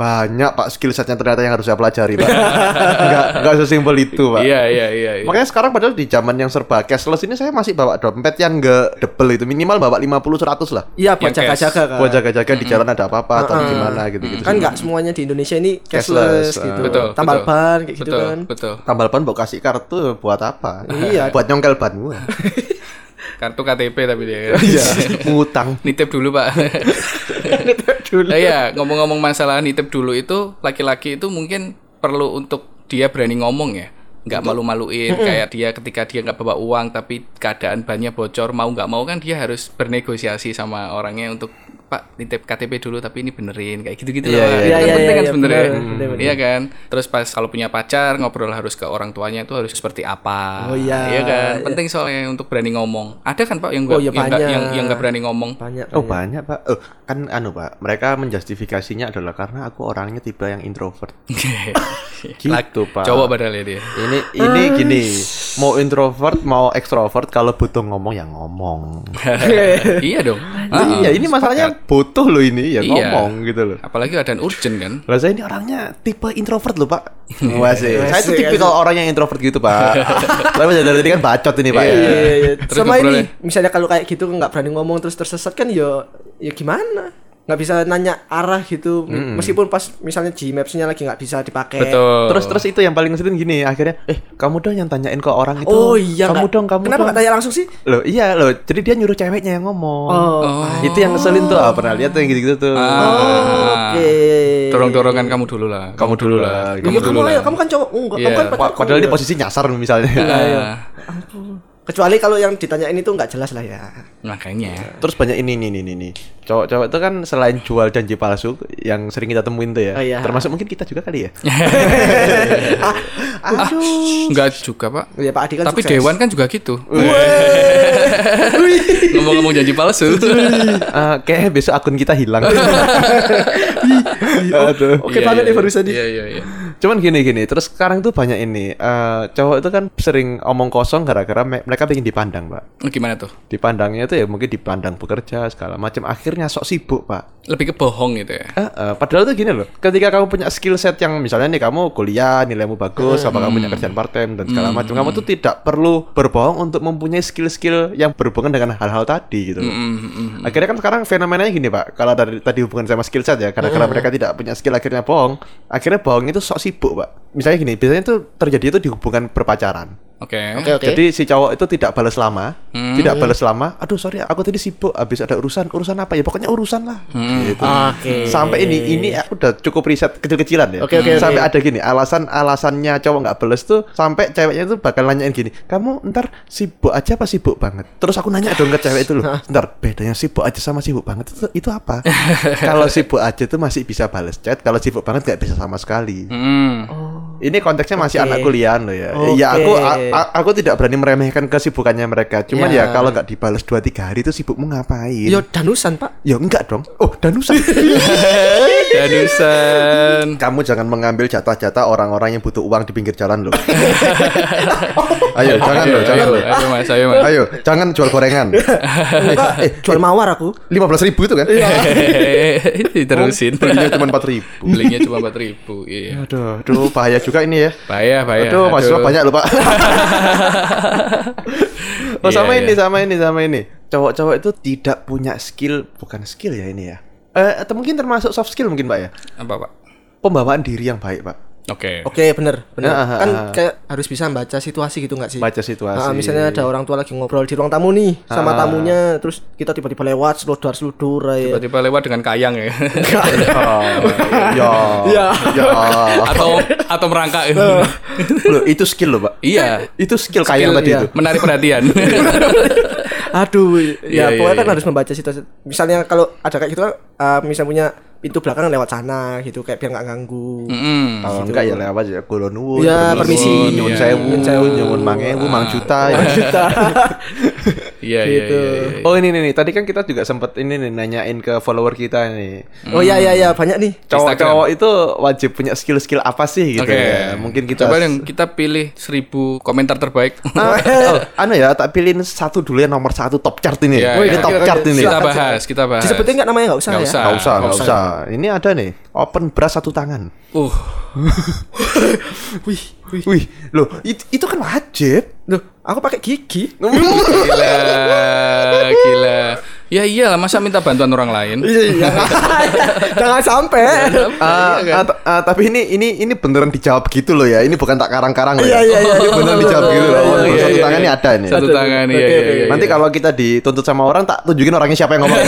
Speaker 2: Banyak Pak skill setnya ternyata yang harus saya pelajari, Pak. Enggak enggak sesimpel itu, Pak.
Speaker 3: Iya, iya, iya. iya.
Speaker 2: Makanya sekarang padahal di zaman yang serba cashless ini saya masih bawa dompet yang enggak debel itu. Minimal bawa 50 100 lah.
Speaker 1: Iya buat
Speaker 3: Yang cash.
Speaker 1: jaga-jaga kan.
Speaker 2: Buat jaga-jaga di jalan ada apa-apa atau gimana gitu-gitu.
Speaker 1: kan nggak semuanya di Indonesia ini
Speaker 2: Cashless,
Speaker 1: cashless,
Speaker 2: ah.
Speaker 1: gitu.
Speaker 3: Betul.
Speaker 1: Tambal
Speaker 3: betul.
Speaker 1: ban kayak gitu
Speaker 3: betul,
Speaker 1: kan.
Speaker 3: Betul.
Speaker 2: Tambal ban mau kasih kartu buat apa?
Speaker 1: Iya.
Speaker 2: buat nyongkel ban gua.
Speaker 3: Kartu KTP tapi dia.
Speaker 2: Iya, ngutang.
Speaker 3: Nitip dulu, Pak. Nah, Iya, ngomong-ngomong masalah nitip dulu itu laki-laki itu mungkin perlu untuk dia berani ngomong ya. Nggak malu-maluin kayak dia ketika dia nggak bawa uang tapi keadaan bannya bocor mau nggak mau kan dia harus bernegosiasi sama orangnya untuk Pak nitip KTP dulu tapi ini benerin kayak gitu-gitu
Speaker 2: Iya,
Speaker 3: loh.
Speaker 2: iya,
Speaker 3: Itu kan
Speaker 1: iya,
Speaker 3: penting
Speaker 1: iya,
Speaker 3: kan
Speaker 1: iya,
Speaker 3: sebenarnya.
Speaker 1: bener, bener, bener.
Speaker 3: Iya kan? Terus pas kalau punya pacar ngobrol harus ke orang tuanya itu harus seperti apa?
Speaker 1: Oh, iya.
Speaker 3: kan? Penting soalnya untuk berani ngomong. Ada kan Pak yang nggak
Speaker 1: Oh, iya,
Speaker 3: yang nggak-
Speaker 1: banyak.
Speaker 3: yang yang nggak berani ngomong?
Speaker 1: banyak
Speaker 2: Oh
Speaker 1: banyak.
Speaker 2: banyak pak. Eh kan anu pak. Mereka menjustifikasinya adalah karena aku orangnya tipe yang introvert. Gitu pak.
Speaker 3: Cowok padahal ya dia.
Speaker 2: Ini ini gini. Mau introvert mau ekstrovert kalau butuh ngomong ya ngomong.
Speaker 3: iya dong. Heeh.
Speaker 2: Iya ini masalahnya butuh loh ini ya
Speaker 3: Iya.
Speaker 2: ngomong gitu loh.
Speaker 3: Apalagi ada urgent kan.
Speaker 2: Lah saya ini orangnya tipe introvert loh pak Wah sih Saya
Speaker 1: Iya. Wah,
Speaker 2: tuh
Speaker 1: sih,
Speaker 2: tipikal orang yang introvert gitu pak Tapi dari tadi kan bacot ini pak ya
Speaker 1: Iya, iya, iya.
Speaker 3: Terus
Speaker 1: Sama ini,
Speaker 3: ngobrolnya.
Speaker 1: misalnya kalau kayak gitu nggak berani ngomong terus tersesat kan ya ya gimana? nggak bisa nanya arah gitu meskipun pas misalnya Gmaps-nya lagi nggak bisa dipakai
Speaker 3: Betul.
Speaker 2: Eh, Terus terus itu yang paling ngeselin gini Akhirnya eh kamu dong yang tanyain ke orang itu
Speaker 1: oh iya
Speaker 2: Kamu
Speaker 1: nggak-
Speaker 2: dong kamu
Speaker 1: kenapa
Speaker 2: dong
Speaker 1: nggak tanya langsung sih
Speaker 2: Loh iya loh Jadi dia nyuruh ceweknya yang ngomong
Speaker 1: oh, Ah.
Speaker 2: Itu yang ngeselin tuh ah, Pernah lihat tuh yang gitu-gitu tuh
Speaker 3: Ah.
Speaker 1: oke
Speaker 3: Dorong-dorongan kamu dulu lah.
Speaker 2: Kamu dulu lah
Speaker 1: Iya,
Speaker 2: kamu
Speaker 1: kamu,
Speaker 2: dulu lah.
Speaker 1: ayo, kamu kan cowok enggak
Speaker 3: Iya.
Speaker 1: kamu kan
Speaker 2: Pa-
Speaker 1: pacarku.
Speaker 2: Ah, Padahal dia posisi nyasar
Speaker 1: Iya,
Speaker 2: misalnya
Speaker 3: Ah,
Speaker 1: kecuali kalau yang ditanyain itu nggak jelas lah ya
Speaker 3: makanya.
Speaker 2: Terus banyak ini nih nih nih nih. Cowok-cowok itu kan selain jual janji palsu yang sering kita temuin tuh ya.
Speaker 1: Oh, iya.
Speaker 2: Termasuk mungkin kita juga kali ya. Iya.
Speaker 3: Enggak juga, Pak.
Speaker 1: Ah, ya Pak Adi kan
Speaker 3: Tapi
Speaker 1: sukses.
Speaker 3: Dewan kan juga gitu. Ngomong-ngomong janji palsu.
Speaker 2: Eh, kayaknya besok akun kita hilang. oh, Aduh.
Speaker 1: oke banget nih barusan nih.
Speaker 3: Iya, iya, iya.
Speaker 2: ya, Cuman gini gini, terus sekarang tuh banyak ini eh, cowok itu kan sering omong kosong gara-gara me- mereka pengen dipandang, Pak.
Speaker 3: Oh, Gimana tuh?
Speaker 2: Dipandangnya tuh ya mungkin dipandang bekerja segala macam. Akhirnya sok sibuk, Pak.
Speaker 3: Lebih ke bohong gitu ya.
Speaker 2: Eh, eh, padahal tuh gini loh, ketika kamu punya skill set yang misalnya nih kamu kuliah nilaimu bagus, apa kamu punya kerjaan part time dan segala macam, kamu tuh tidak perlu berbohong untuk mempunyai skill-skill yang berhubungan dengan hal-hal tadi gitu. loh. Akhirnya kan sekarang fenomenanya gini pak, kalau dari tadi hubungan sama skill set ya, karena karena mereka tidak punya skill akhirnya bohong, akhirnya bohong itu sok sibuk pak. Misalnya gini, biasanya tuh terjadi itu di hubungan perpacaran.
Speaker 3: Oke.
Speaker 1: Eh?
Speaker 2: Jadi si cowok itu tidak balas lama, tidak balas lama. Aduh sorry, aku tadi sibuk, habis ada urusan, urusan apa ya? Pokoknya urusan lah. Gitu.
Speaker 1: Oke.
Speaker 2: Sampai ini, ini aku udah cukup riset kecil-kecilan ya.
Speaker 1: Oke, oke, oke.
Speaker 2: sampai ada gini, alasan-alasannya cowok nggak balas tuh, sampai ceweknya tuh bakal nanyain gini, kamu ntar sibuk aja apa sibuk banget? Terus aku nanya dong ke cewek itu loh, ntar bedanya sibuk aja sama sibuk banget itu, itu apa? kalau sibuk aja tuh masih bisa balas chat, kalau sibuk banget nggak bisa sama sekali.
Speaker 3: Hmm.
Speaker 2: Ini konteksnya masih
Speaker 1: Oke.
Speaker 2: anak kuliahan loh ya.
Speaker 1: Oke.
Speaker 2: Ya aku a- a- aku tidak berani meremehkan kesibukannya mereka. Cuman
Speaker 1: Ya.
Speaker 2: ya kalau nggak dibalas 2 3 hari itu sibukmu ngapain?
Speaker 1: yo danusan Pak
Speaker 2: Ya enggak dong. Oh, danusan.
Speaker 3: Danusan.
Speaker 2: Kamu jangan mengambil jatah-jatah orang-orang yang butuh uang di pinggir jalan loh. ayo, jangan loh, jangan
Speaker 3: ayo,
Speaker 2: loh.
Speaker 3: ayo, Mas, ayo, Mas.
Speaker 2: Ayo, jangan jual gorengan.
Speaker 1: enggak Eh, jual mawar aku
Speaker 2: 15 ribu itu kan?
Speaker 3: Iya. Diterusin.
Speaker 2: Belinya cuma 4 ribu.
Speaker 3: Belinya cuma 4000. Iya.
Speaker 2: Aduh, aduh, bahaya juga ini ya.
Speaker 3: Bahaya, bahaya.
Speaker 2: Aduh, mahasiswa banyak loh, Pak. oh,
Speaker 3: Iya,
Speaker 2: sama
Speaker 3: iya.
Speaker 2: ini, sama ini, sama ini. Cowok-cowok itu tidak punya skill, bukan skill ya ini ya. Eh, atau mungkin termasuk soft skill mungkin, Pak ya.
Speaker 3: Apa, Pak?
Speaker 2: Pembawaan diri yang baik, Pak.
Speaker 3: Oke.
Speaker 1: oke bener bener
Speaker 2: Ah, ah,
Speaker 1: kan
Speaker 2: ah.
Speaker 1: kayak harus bisa baca situasi gitu nggak sih
Speaker 2: Baca situasi. Ah,
Speaker 1: Ah, misalnya ada orang tua lagi ngobrol di ruang tamu nih sama tamunya terus kita tiba-tiba lewat seludar seludar ya
Speaker 3: Tiba-tiba lewat dengan kayang ya.
Speaker 2: Oh, ya.
Speaker 1: Ya.
Speaker 2: Ya.
Speaker 3: iya. atau atau merangkak. gitu.
Speaker 2: Loh, itu skill loh, Pak.
Speaker 3: iya.
Speaker 2: Itu skill kayang tadi
Speaker 1: iya.
Speaker 2: itu.
Speaker 3: Menarik perhatian.
Speaker 1: Aduh,
Speaker 3: Iya, iya,
Speaker 1: ya pokoknya kan
Speaker 3: iya.
Speaker 1: harus membaca situasi. Misalnya kalau ada kayak gitu, eh misalnya punya pintu belakang lewat sana gitu, kayak biar nggak ganggu.
Speaker 3: Hmm.
Speaker 2: Kalau enggak ya lewat aja kulo nuwun.
Speaker 1: Iya,
Speaker 2: kulo
Speaker 1: permisi.
Speaker 2: nuwun, Nyuwun
Speaker 1: Iya.
Speaker 2: sewu,
Speaker 1: Nyuwun sewu.
Speaker 2: nyuwun mang ewu, mang juta. ya.
Speaker 1: Kita
Speaker 3: Iya, iya,
Speaker 1: gitu.
Speaker 3: iya.
Speaker 2: Oh ini nih, nih, tadi kan kita juga sempat ini nih nanyain ke follower kita nih.
Speaker 1: Oh iya iya iya banyak nih.
Speaker 2: Cowok-cowok itu wajib punya skill-skill apa sih gitu
Speaker 3: Oke.
Speaker 2: ya. Mungkin kita
Speaker 3: Coba yang kita pilih 1000 komentar terbaik.
Speaker 2: Ah, oh, anu ya, tak pilihin satu dulu yang nomor satu top chart ini.
Speaker 3: Iya,
Speaker 2: ini
Speaker 3: iya.
Speaker 2: top
Speaker 1: Oke, oke,
Speaker 2: chart
Speaker 1: oke.
Speaker 2: ini.
Speaker 3: kita
Speaker 1: silakan,
Speaker 3: bahas, kita bahas.
Speaker 1: Disebutin nggak namanya nggak usah
Speaker 3: Nggak
Speaker 1: ya?
Speaker 3: usah.
Speaker 2: Gak usah, gak
Speaker 3: Nggak
Speaker 2: usah. Ini ada nih, open bra satu tangan.
Speaker 3: Uh,
Speaker 1: Wih, wih.
Speaker 2: Wih, loh it- itu kan wajib.
Speaker 1: Duh, aku pakai gigi.
Speaker 3: gila, gila. Ya iyalah, masa minta bantuan orang lain?
Speaker 1: Iya.
Speaker 3: Iya,
Speaker 1: Jangan sampai.
Speaker 2: Iya. Ah,
Speaker 3: kan?
Speaker 2: ah, t- ah, tapi ini ini ini beneran dijawab gitu loh ya. Ini bukan tak karang-karang loh.
Speaker 1: Iya,
Speaker 2: ya.
Speaker 1: iya, iya.
Speaker 2: Ini beneran dijawab gitu loh.
Speaker 1: Iya,
Speaker 2: Open bra
Speaker 1: iya,
Speaker 2: satu
Speaker 3: iya,
Speaker 2: tangan
Speaker 3: iya.
Speaker 2: ini ada nih.
Speaker 3: Satu tangan, iya,
Speaker 1: Oke,
Speaker 3: iya,
Speaker 1: oke,
Speaker 3: iya.
Speaker 1: Iya,
Speaker 2: Nanti kalau kita dituntut sama orang tak tunjukin orangnya siapa yang ngomong.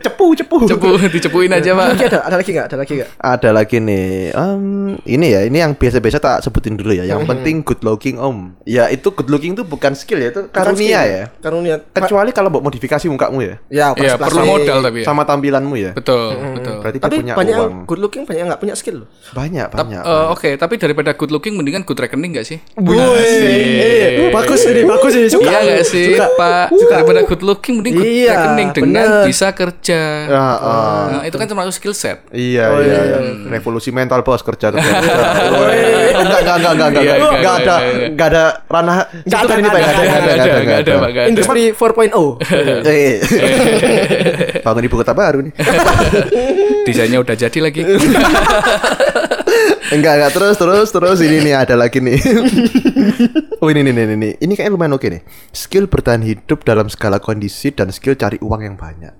Speaker 2: cepu, cepu. cepu.
Speaker 3: cepu dicepuin aja pak
Speaker 1: Oke, ada, ada lagi nggak? Ada lagi nggak?
Speaker 2: Ada lagi nih. Em, ini ya, ini yang biasa-biasa tak sebutin dulu ya.
Speaker 1: Hmm.
Speaker 2: Yang penting good looking om. Ya itu good looking itu bukan skill ya, itu karunia ya.
Speaker 1: Karunia.
Speaker 2: Kecuali kalau buat modifikasi mukamu ya,
Speaker 1: Ya,
Speaker 3: ya
Speaker 1: operasi
Speaker 3: perlu
Speaker 1: plastik.
Speaker 3: modal tapi ya
Speaker 2: sama tampilanmu ya.
Speaker 3: betul betul
Speaker 2: Berarti dia
Speaker 1: Tapi
Speaker 2: punya
Speaker 1: banyak yang
Speaker 2: uang.
Speaker 1: good looking, banyak yang nggak punya skill loh.
Speaker 2: Banyak banyak.
Speaker 3: Eh, oke tapi daripada good looking mendingan good rekening gak sih
Speaker 2: Eh,
Speaker 1: Wih, bagus ini, bagus ini suka.
Speaker 3: iya gak sih
Speaker 1: Suka.
Speaker 3: pak daripada good looking mending good
Speaker 1: Iya,
Speaker 3: rekening dengan
Speaker 1: bener.
Speaker 3: bisa kerja
Speaker 2: Ya, eh,
Speaker 3: Nah, itu kan termasuk skill set
Speaker 2: Iya, iya, iya. Revolusi mental bos kerja kerja. Woi. Enggak, enggak, enggak,
Speaker 3: Iya,
Speaker 2: enggak, enggak,
Speaker 3: enggak,
Speaker 2: enggak ada,
Speaker 3: enggak, enggak.
Speaker 2: enggak ada ranah.
Speaker 1: Enggak
Speaker 2: itu
Speaker 1: ada,
Speaker 2: kan ini, Pak,
Speaker 1: enggak ada,
Speaker 3: Nggak ada nggak ada
Speaker 2: Iya.
Speaker 3: Pak, nggak ada
Speaker 1: Industri oh. 4.0.
Speaker 2: Eh, bangun ibu kota baru nih.
Speaker 3: desainnya udah jadi lagi
Speaker 2: Enggak, enggak terus terus terus ini nih ada lagi nih. oh ini nih, nih, nih, nih. Ini kayaknya lumayan oke nih. Skill bertahan hidup dalam segala kondisi dan skill cari uang yang banyak.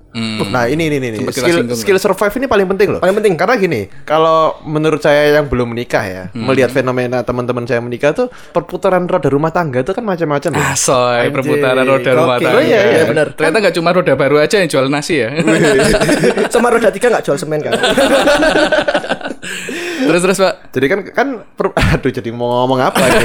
Speaker 2: Nah ini ini ini, nih.
Speaker 3: Sempet kita
Speaker 2: skill
Speaker 3: singgung
Speaker 2: skill survive ini paling penting loh.
Speaker 1: Paling penting.
Speaker 2: karena gini kalau menurut saya yang belum menikah ya melihat fenomena teman-teman saya menikah tuh perputaran roda rumah tangga itu kan
Speaker 3: Ah.
Speaker 2: macam-macam loh.
Speaker 3: Asoy, perputaran roda rumah
Speaker 1: Oke.
Speaker 3: tangga.
Speaker 1: Oh, iya, iya, benar.
Speaker 3: Ternyata nggak cuma roda baru aja yang jual nasi ya.
Speaker 1: Sama roda tiga nggak jual semen kan?
Speaker 3: terus terus pak.
Speaker 2: Jadi kan kan per- aduh jadi mau ngomong apa ini?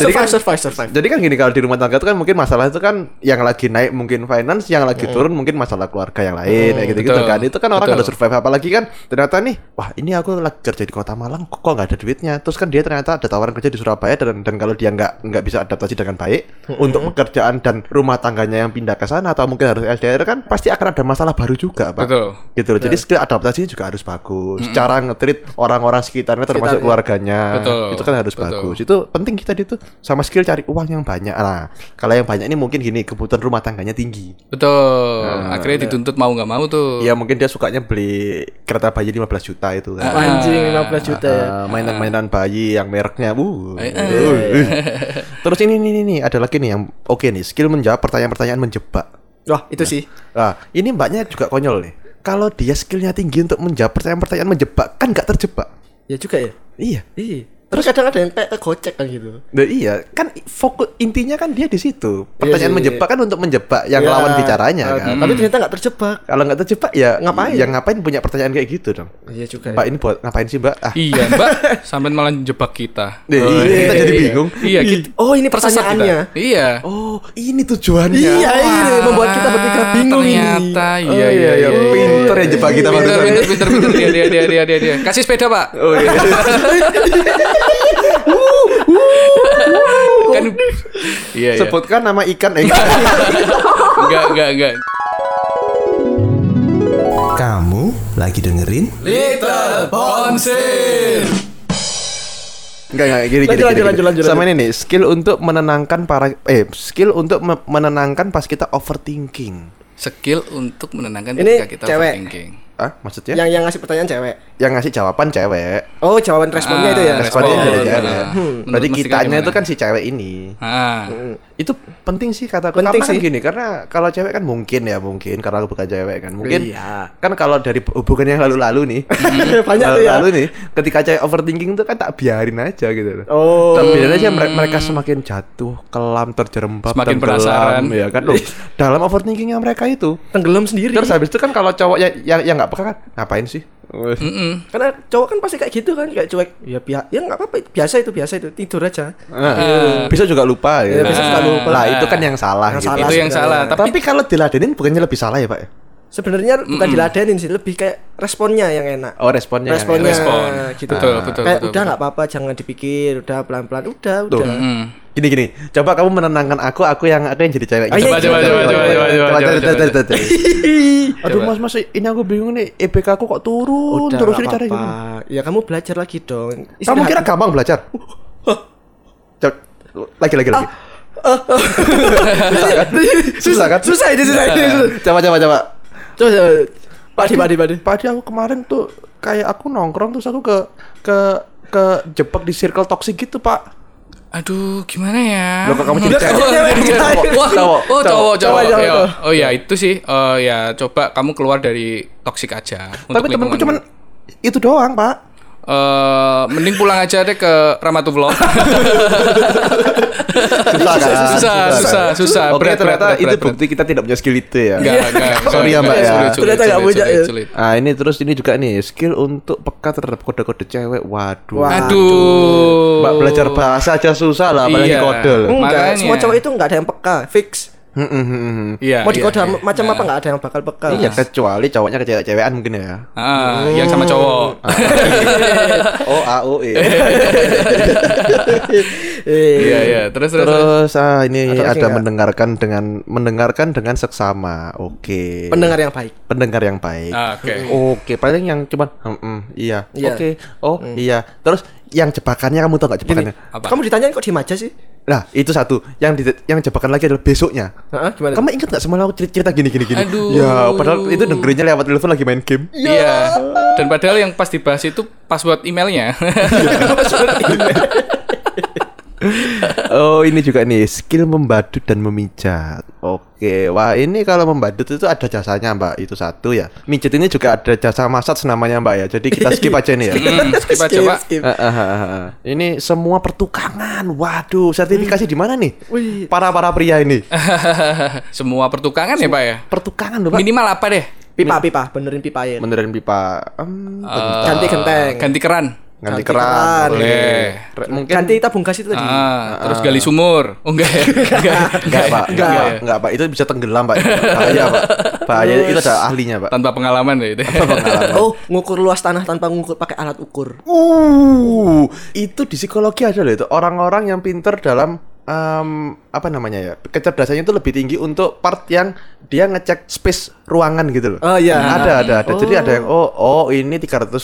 Speaker 2: jadi kan
Speaker 1: survive, survive, survive.
Speaker 2: Jadi kan gini kalau di rumah tangga itu kan mungkin masalah itu kan yang lagi naik mungkin finance, yang lagi turun mungkin masalah keluarga yang lain kayak gitu-gitu
Speaker 3: Iya. betul.
Speaker 2: kan. Itu kan orang
Speaker 3: Betul.
Speaker 2: ada survive apalagi kan ternyata nih wah ini aku lagi kerja di Kota Malang kok kok nggak ada duitnya. Terus kan dia ternyata ada tawaran kerja di Surabaya dan dan kalau dia nggak nggak bisa adaptasi dengan baik untuk pekerjaan dan rumah tangganya yang pindah ke sana atau mungkin harus LDR kan pasti akan ada masalah baru juga, Pak.
Speaker 3: Betul.
Speaker 2: Gitu loh. Jadi skill adaptasinya juga harus bagus. Cara ngetrit orang-orang sekitarnya termasuk keluarganya
Speaker 3: Betul.
Speaker 2: itu kan harus
Speaker 3: Betul.
Speaker 2: bagus itu penting kita itu sama skill cari uang yang banyak lah kalau yang banyak ini mungkin gini kebutuhan rumah tangganya tinggi
Speaker 3: Betul. Akhirnya dituntut mau nggak mau tuh.
Speaker 2: ya mungkin dia sukanya beli kereta bayi 15 juta itu
Speaker 3: Ah,
Speaker 2: kan
Speaker 1: Anjing 15 juta
Speaker 3: iya.
Speaker 1: ya.
Speaker 2: Eh, mainan-mainan bayi yang mereknya uh,
Speaker 3: Eh,
Speaker 2: uh. terus ini ini ini, ini, ada lagi nih yang oke nih skill menjawab pertanyaan-pertanyaan menjebak
Speaker 1: Wah, itu sih.
Speaker 2: nah ini mbaknya juga konyol nih kalau dia skillnya tinggi untuk menjawab pertanyaan-pertanyaan menjebak kan nggak terjebak
Speaker 1: Ya juga ya.
Speaker 2: iya
Speaker 1: Iya. Terus kadang ada yang kayak kegocek kan gitu.
Speaker 2: Nah, iya, kan fokus intinya kan dia di situ.
Speaker 1: Iya
Speaker 2: Pertanyaan
Speaker 1: sih.
Speaker 2: menjebak kan untuk menjebak yang
Speaker 1: Ya.
Speaker 2: lawan bicaranya
Speaker 1: Eh,
Speaker 2: kan.
Speaker 1: Tapi ternyata nggak terjebak.
Speaker 2: Kalau nggak terjebak ya
Speaker 1: Ngapain?
Speaker 2: Yang ngapain punya pertanyaan kayak gitu dong?
Speaker 1: Iya juga. ya.
Speaker 2: Mbak ini buat ngapain sih Mbak? Ah,
Speaker 3: Iya mbak. Sampai malah jebak kita. Oh,
Speaker 2: deh, iya, kita jadi bingung.
Speaker 3: Iya gitu.
Speaker 1: Oh, ini
Speaker 3: Tersesat kita.
Speaker 1: pertanyaannya.
Speaker 3: Iya.
Speaker 2: Oh, ini tujuannya.
Speaker 1: Iya, ini membuat kita bertiga bingung ini.
Speaker 3: Ternyata
Speaker 2: Oh,
Speaker 3: iya iya iya. iya.
Speaker 2: Pinter ya jebak kita
Speaker 3: Pinter
Speaker 2: barusan.
Speaker 3: pinter pinter pinter dia dia dia dia dia dia. Kasih sepeda pak.
Speaker 2: Oh iya.
Speaker 3: Kan. Iya iya.
Speaker 2: Sebutkan nama ikan eh, enggak.
Speaker 1: Iya.
Speaker 3: Enggak enggak enggak.
Speaker 4: Kamu lagi dengerin
Speaker 3: Little Bonsir.
Speaker 2: Enggak enggak gini
Speaker 1: Lanjut,
Speaker 2: gini. gini,
Speaker 1: lanjut,
Speaker 2: gini.
Speaker 1: lanjut, lanjut,
Speaker 2: Sama ini nih, skill untuk menenangkan para eh skill untuk me- menenangkan pas kita overthinking.
Speaker 3: Skill untuk menenangkan
Speaker 1: Ini
Speaker 3: ketika kita
Speaker 1: cewek.
Speaker 3: overthinking.
Speaker 2: Ah, maksudnya?
Speaker 1: Yang yang ngasih pertanyaan cewek.
Speaker 2: yang ngasih jawaban cewek.
Speaker 1: Oh, jawaban responnya itu ya.
Speaker 3: respon.
Speaker 2: Ah, Responnya
Speaker 3: Oh,
Speaker 2: dari cewek.
Speaker 3: nah.
Speaker 2: Hmm.
Speaker 3: Menurut
Speaker 2: Berarti
Speaker 3: Mas Dika
Speaker 2: kitanya
Speaker 3: gimana?
Speaker 2: itu kan si cewek ini.
Speaker 3: Ah.
Speaker 2: Itu penting sih kata
Speaker 1: Penting
Speaker 2: Karena kan
Speaker 1: sih.
Speaker 2: gini, karena kalau cewek kan mungkin ya mungkin karena aku bukan cewek kan. Mungkin
Speaker 1: Iya.
Speaker 2: kan kalau dari hubungan yang lalu-lalu nih.
Speaker 1: Banyak tuh ya.
Speaker 2: lalu nih, ketika cewek overthinking tuh kan tak biarin aja gitu loh.
Speaker 1: Oh.
Speaker 2: Tak biarin aja mere- mereka semakin jatuh, kelam, terjerembab,
Speaker 3: Semakin
Speaker 2: tenggelam,
Speaker 3: penasaran.
Speaker 2: ya kan. Loh, dalam overthinkingnya mereka itu.
Speaker 1: Tenggelam sendiri.
Speaker 2: Terus habis itu kan kalau cowok yang yang yang nggak peka kan, ngapain sih?
Speaker 3: Mm-mm.
Speaker 1: Karena cowok kan pasti kayak gitu kan, kayak cuek. Ya biasa, ya nggak apa-apa, biasa itu, biasa itu, tidur aja.
Speaker 3: Ah.
Speaker 2: Nah, bisa juga lupa
Speaker 1: Ya, Ah,
Speaker 2: ya.
Speaker 1: iya. bisa juga lupa.
Speaker 2: Lah itu kan yang salah
Speaker 1: Yang
Speaker 2: gitu.
Speaker 1: salah
Speaker 3: Itu yang salah.
Speaker 2: Tapi,
Speaker 3: Tapi
Speaker 2: kalau diladenin bukannya lebih salah ya, Pak?
Speaker 1: Sebenarnya bukan diladenin sih, lebih kayak responnya yang enak.
Speaker 2: Oh, responnya.
Speaker 1: responnya
Speaker 3: Iya, Respon.
Speaker 1: gitu.
Speaker 3: Betul, betul, betul,
Speaker 1: kayak udah
Speaker 3: betul.
Speaker 1: nggak apa-apa, jangan dipikir, udah pelan-pelan, udah,
Speaker 2: Tuh.
Speaker 1: udah.
Speaker 3: Mm.
Speaker 2: Gini gini, coba kamu menenangkan aku, aku yang aku yang jadi cewek.
Speaker 1: Ayo, Coba,
Speaker 2: iya,
Speaker 1: coba, coba, coba,
Speaker 3: coba, coba,
Speaker 2: coba,
Speaker 3: coba,
Speaker 2: coba, coba. iya, Aduh,
Speaker 3: Coba.
Speaker 2: Mas, Mas, ini aku bingung nih, EPK aku kok turun
Speaker 1: Udah,
Speaker 2: terus
Speaker 1: nggak
Speaker 2: ini cara
Speaker 1: apa-apa.
Speaker 2: gini.
Speaker 1: Ya kamu belajar lagi dong.
Speaker 2: Kamu
Speaker 1: Istirahat.
Speaker 2: kira gampang belajar? Coba, lagi lagi lagi. ah, Susah kan?
Speaker 1: susah ini, susah ini. susah.
Speaker 2: Coba coba coba.
Speaker 1: Coba, coba. Pak Di, Pak Di, Pak Di.
Speaker 2: Padi aku kemarin tuh kayak aku nongkrong terus aku ke ke ke jebak di circle toksik gitu, Pak.
Speaker 3: Aduh, gimana ya?
Speaker 2: Loh, kok kamu jadi
Speaker 3: Wah,
Speaker 2: cewek?
Speaker 3: jadi cewek.
Speaker 2: Cowok,
Speaker 3: Wah,
Speaker 2: cowok,
Speaker 3: Oh, cowok,
Speaker 2: cowok,
Speaker 3: cowok.
Speaker 2: cowok.
Speaker 3: Iya. Oh ya, itu sih. Eh ya, coba kamu keluar dari toksik aja.
Speaker 2: Tapi
Speaker 3: untuk
Speaker 2: temanku
Speaker 3: lingkunganmu.
Speaker 2: cuman itu doang, Pak.
Speaker 3: eh, mending pulang aja deh ke Ramatullah.
Speaker 2: Susah kan?
Speaker 3: susah, susah, susah, susah.
Speaker 2: Oke,
Speaker 3: Berat,
Speaker 2: ternyata
Speaker 3: berat, berat,
Speaker 2: itu
Speaker 3: berat.
Speaker 2: bukti kita tidak punya skill itu ya.
Speaker 3: Enggak, enggak.
Speaker 2: Sorry ya, Mbak, ya.
Speaker 1: Ternyata nggak punya, ya.
Speaker 2: Ah ini terus ini juga nih skill untuk peka terhadap kode-kode cewek. Waduh.
Speaker 1: Wah.
Speaker 3: Aduh.
Speaker 2: Mbak belajar bahasa aja susah lah
Speaker 3: Iya.
Speaker 2: apalagi kode.
Speaker 3: Mm.
Speaker 2: loh.
Speaker 1: Enggak,
Speaker 3: Makanya.
Speaker 1: semua cowok itu enggak ada yang peka, fix.
Speaker 2: Hmm, hmm, hmm, hmm.
Speaker 3: Iya.
Speaker 1: Mau dikode
Speaker 3: iya, iya.
Speaker 1: macam apa enggak ada yang bakal peka.
Speaker 2: Iya kecuali cowoknya ke cewek-cewekan mungkin ya.
Speaker 3: Ah, yang sama cowok.
Speaker 2: Hmm.
Speaker 3: Ah,
Speaker 2: Oh AOE.
Speaker 1: Eh,
Speaker 3: Iya, iya. Terus terus. terus.
Speaker 2: Terus ah ini
Speaker 1: Atau
Speaker 2: ada
Speaker 1: enggak?
Speaker 2: mendengarkan dengan mendengarkan dengan seksama. Oke.
Speaker 1: Pendengar yang baik.
Speaker 2: Pendengar yang baik.
Speaker 3: Ah, Oke.
Speaker 2: Oke, paling yang cuman "Hmm, hmm, iya.
Speaker 1: Iya.
Speaker 2: Oke. Oh, iya. Terus yang jebakannya kamu tau gak jebakannya?
Speaker 3: Apa?
Speaker 1: Kamu ditanyain kok diem aja sih?
Speaker 2: Nah, itu satu. Yang di- yang jebakan lagi adalah besoknya.
Speaker 1: Heeh, gimana?
Speaker 2: Kamu ingat gak semalam aku cerita, cerita gini gini gini?
Speaker 3: Aduh.
Speaker 2: Ya, padahal itu dengerinnya lewat telepon lagi main game.
Speaker 3: Iya. Dan padahal yang pas dibahas itu password emailnya.
Speaker 2: oh, ini juga nih skill membadut dan memijat. Oke, wah ini kalau membadut itu ada jasanya Mbak. Itu satu ya. Mijat ini juga ada jasa massage namanya Mbak ya. Jadi kita skip aja nih ya.
Speaker 3: Hmm, skip aja, Pak.
Speaker 1: skip.
Speaker 2: Ah, ah, ah, ah. ini semua pertukangan. Waduh, sertifikasi di mana nih?
Speaker 1: Wih.
Speaker 2: Para para pria ini.
Speaker 3: Semua Eh, pertukangan ya, Pak ya?
Speaker 2: Pertukangan loh, Pak.
Speaker 3: Minimal apa deh?
Speaker 1: Pipa, pipa, benerin pipa ya.
Speaker 2: Beneran pipa. Hmm,
Speaker 3: Eh,
Speaker 1: Ganti genteng.
Speaker 3: Ganti keran.
Speaker 2: ganti
Speaker 1: ganti
Speaker 2: keran.
Speaker 1: keran.
Speaker 3: Boleh.
Speaker 2: Re- Mungkin
Speaker 1: Ganti tabung gas itu tadi.
Speaker 3: Ah,
Speaker 2: Hmm.
Speaker 3: terus gali sumur. Oh enggak ya? Enggak.
Speaker 2: Enggak, Pak. Enggak,
Speaker 1: Enggak.
Speaker 2: Pak. Enggak, Pak. Itu bisa tenggelam, Pak. Bahaya, Pak. Bahaya. Itu ada ahlinya, Pak.
Speaker 3: Tanpa pengalaman ya itu.
Speaker 2: Pengalaman.
Speaker 1: Oh, ngukur luas tanah tanpa ngukur pakai alat ukur.
Speaker 2: Uh, itu di psikologi ada loh itu orang-orang yang pinter dalam em, apa namanya ya kecerdasannya itu lebih tinggi untuk part yang dia ngecek space ruangan gitu loh.
Speaker 1: Oh, iya.
Speaker 2: Ada ada ada. Jadi ada yang oh oh ini 325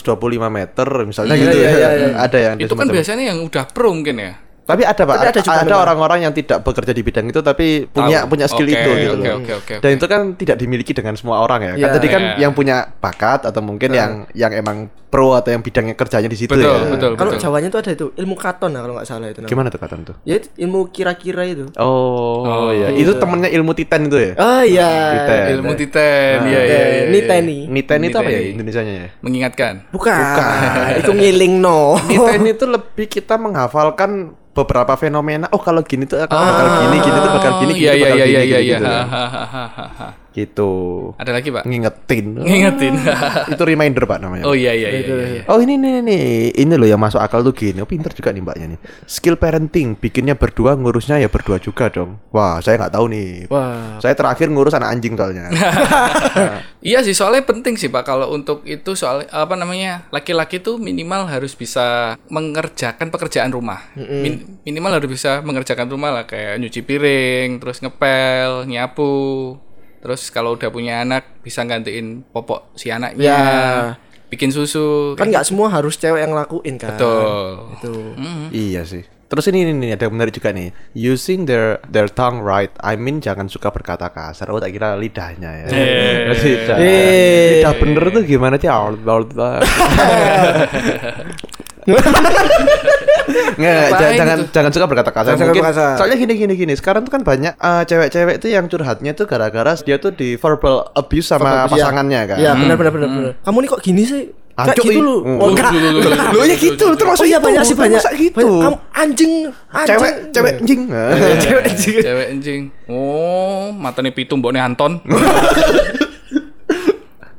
Speaker 2: meter misalnya
Speaker 1: Iya,
Speaker 2: gitu.
Speaker 1: iya, iya, iya.
Speaker 2: ada yang ada
Speaker 3: itu kan
Speaker 2: semacam-
Speaker 3: biasanya yang udah pro mungkin ya.
Speaker 2: Tapi ada Pak,
Speaker 1: Tapi ada
Speaker 2: ada,
Speaker 1: juga
Speaker 2: ada
Speaker 1: memang.
Speaker 2: orang-orang yang tidak bekerja di bidang itu tapi punya
Speaker 3: Tahu.
Speaker 2: punya skill
Speaker 3: Oke,
Speaker 2: itu gitu
Speaker 3: oke,
Speaker 2: loh.
Speaker 3: oke, oke,
Speaker 2: Dan
Speaker 3: oke.
Speaker 2: itu kan tidak dimiliki dengan semua orang ya. Kan
Speaker 1: Iya.
Speaker 2: tadi kan
Speaker 3: Iya.
Speaker 2: yang punya bakat atau mungkin yang yang emang pro atau yang bidangnya kerjanya di situ
Speaker 3: Betul,
Speaker 2: ya.
Speaker 3: betul,
Speaker 1: Kalau
Speaker 3: betul.
Speaker 1: Jawanya itu ada itu ilmu katon nah, kalau nggak salah
Speaker 3: Gitu.
Speaker 1: itu. namanya.
Speaker 2: Gimana tuh kata tuh?
Speaker 1: Ya itu ilmu kira-kira itu.
Speaker 2: Oh,
Speaker 3: Oh,
Speaker 2: iya. Itu temennya ilmu Titan itu ya?
Speaker 1: Oh
Speaker 2: Titan.
Speaker 1: iya.
Speaker 3: Ilmu
Speaker 2: Nah.
Speaker 3: titen. Iya, iya, iya, iya.
Speaker 1: Niteni.
Speaker 2: Niten itu apa ya
Speaker 3: Niten.
Speaker 2: Indonesianya ya?
Speaker 3: Mengingatkan.
Speaker 1: Bukan. itu ngiling no.
Speaker 2: Niten itu lebih kita menghafalkan beberapa fenomena. Oh, kalau gini tuh akan bakal gini, gini tuh bakal gini,
Speaker 3: Ah.
Speaker 2: gini
Speaker 3: Iya,
Speaker 2: tuh
Speaker 3: iya,
Speaker 2: bakal
Speaker 3: iya,
Speaker 2: gini,
Speaker 3: iya, iya,
Speaker 2: gini,
Speaker 3: iya.
Speaker 2: gitu. ya.
Speaker 3: Hahaha.
Speaker 2: Gitu.
Speaker 3: Ada lagi, Pak?
Speaker 2: Ngingetin.
Speaker 3: Ngingetin.
Speaker 2: itu reminder, Pak namanya.
Speaker 3: Oh iya, iya, iya, iya. iya.
Speaker 2: Oh ini nih, nih nih ini loh yang masuk akal tuh gini, oh, pinter juga nih mbaknya nih. Skill parenting, bikinnya berdua, ngurusnya ya berdua juga dong. Wah saya nggak tahu nih.
Speaker 1: Wah.
Speaker 2: Saya terakhir ngurus anak anjing soalnya.
Speaker 3: Iya sih soalnya penting sih pak kalau untuk itu soal apa namanya laki-laki tuh minimal harus bisa mengerjakan pekerjaan rumah Min- minimal harus bisa mengerjakan rumah lah kayak nyuci piring terus ngepel nyapu terus kalau udah punya anak bisa gantiin popok si anaknya
Speaker 1: Ya.
Speaker 3: bikin susu
Speaker 1: Kan nggak semua harus cewek yang lakuin kan.
Speaker 3: betul
Speaker 1: Itu.
Speaker 2: Iya sih. Terus ini, ini, ini ada yang menarik juga nih. Using their their tongue right. I mean jangan suka berkata kasar. Oh tak kira lidahnya ya. Lidah.
Speaker 1: Eh.
Speaker 2: Lidah bener tuh gimana sih? Aul- aul- aul. Nggak, nggak, jangan,
Speaker 3: Apain
Speaker 2: jangan,
Speaker 3: itu?
Speaker 2: jangan suka berkata
Speaker 1: Jangan
Speaker 2: kasar.
Speaker 1: suka
Speaker 2: Mungkin,
Speaker 1: berkasar.
Speaker 2: soalnya gini gini gini. Sekarang tuh kan banyak eh, cewek-cewek tuh yang curhatnya tuh gara-gara dia tuh di verbal abuse sama
Speaker 1: Verbal abuse, ya.
Speaker 2: pasangannya kan.
Speaker 1: Iya, benar benar benar
Speaker 3: Hmm.
Speaker 1: benar. Kamu nih kok gini sih? Kayak
Speaker 2: Ancuk,
Speaker 1: gitu
Speaker 2: ih.
Speaker 1: lu.
Speaker 2: Hmm.
Speaker 1: Oh, enggak.
Speaker 3: Lu, lu, lu, lu, lu.
Speaker 1: Loh, ya gitu termasuk
Speaker 2: Oh,
Speaker 1: ya
Speaker 2: iya,
Speaker 1: banyak
Speaker 2: itu,
Speaker 1: sih banyak.
Speaker 2: termasuk gitu.
Speaker 1: Banyak. Kamu anjing, anjing.
Speaker 2: Cewek, cewek anjing.
Speaker 1: cewek anjing.
Speaker 3: cewek anjing oh matanya pitum mboknya Anton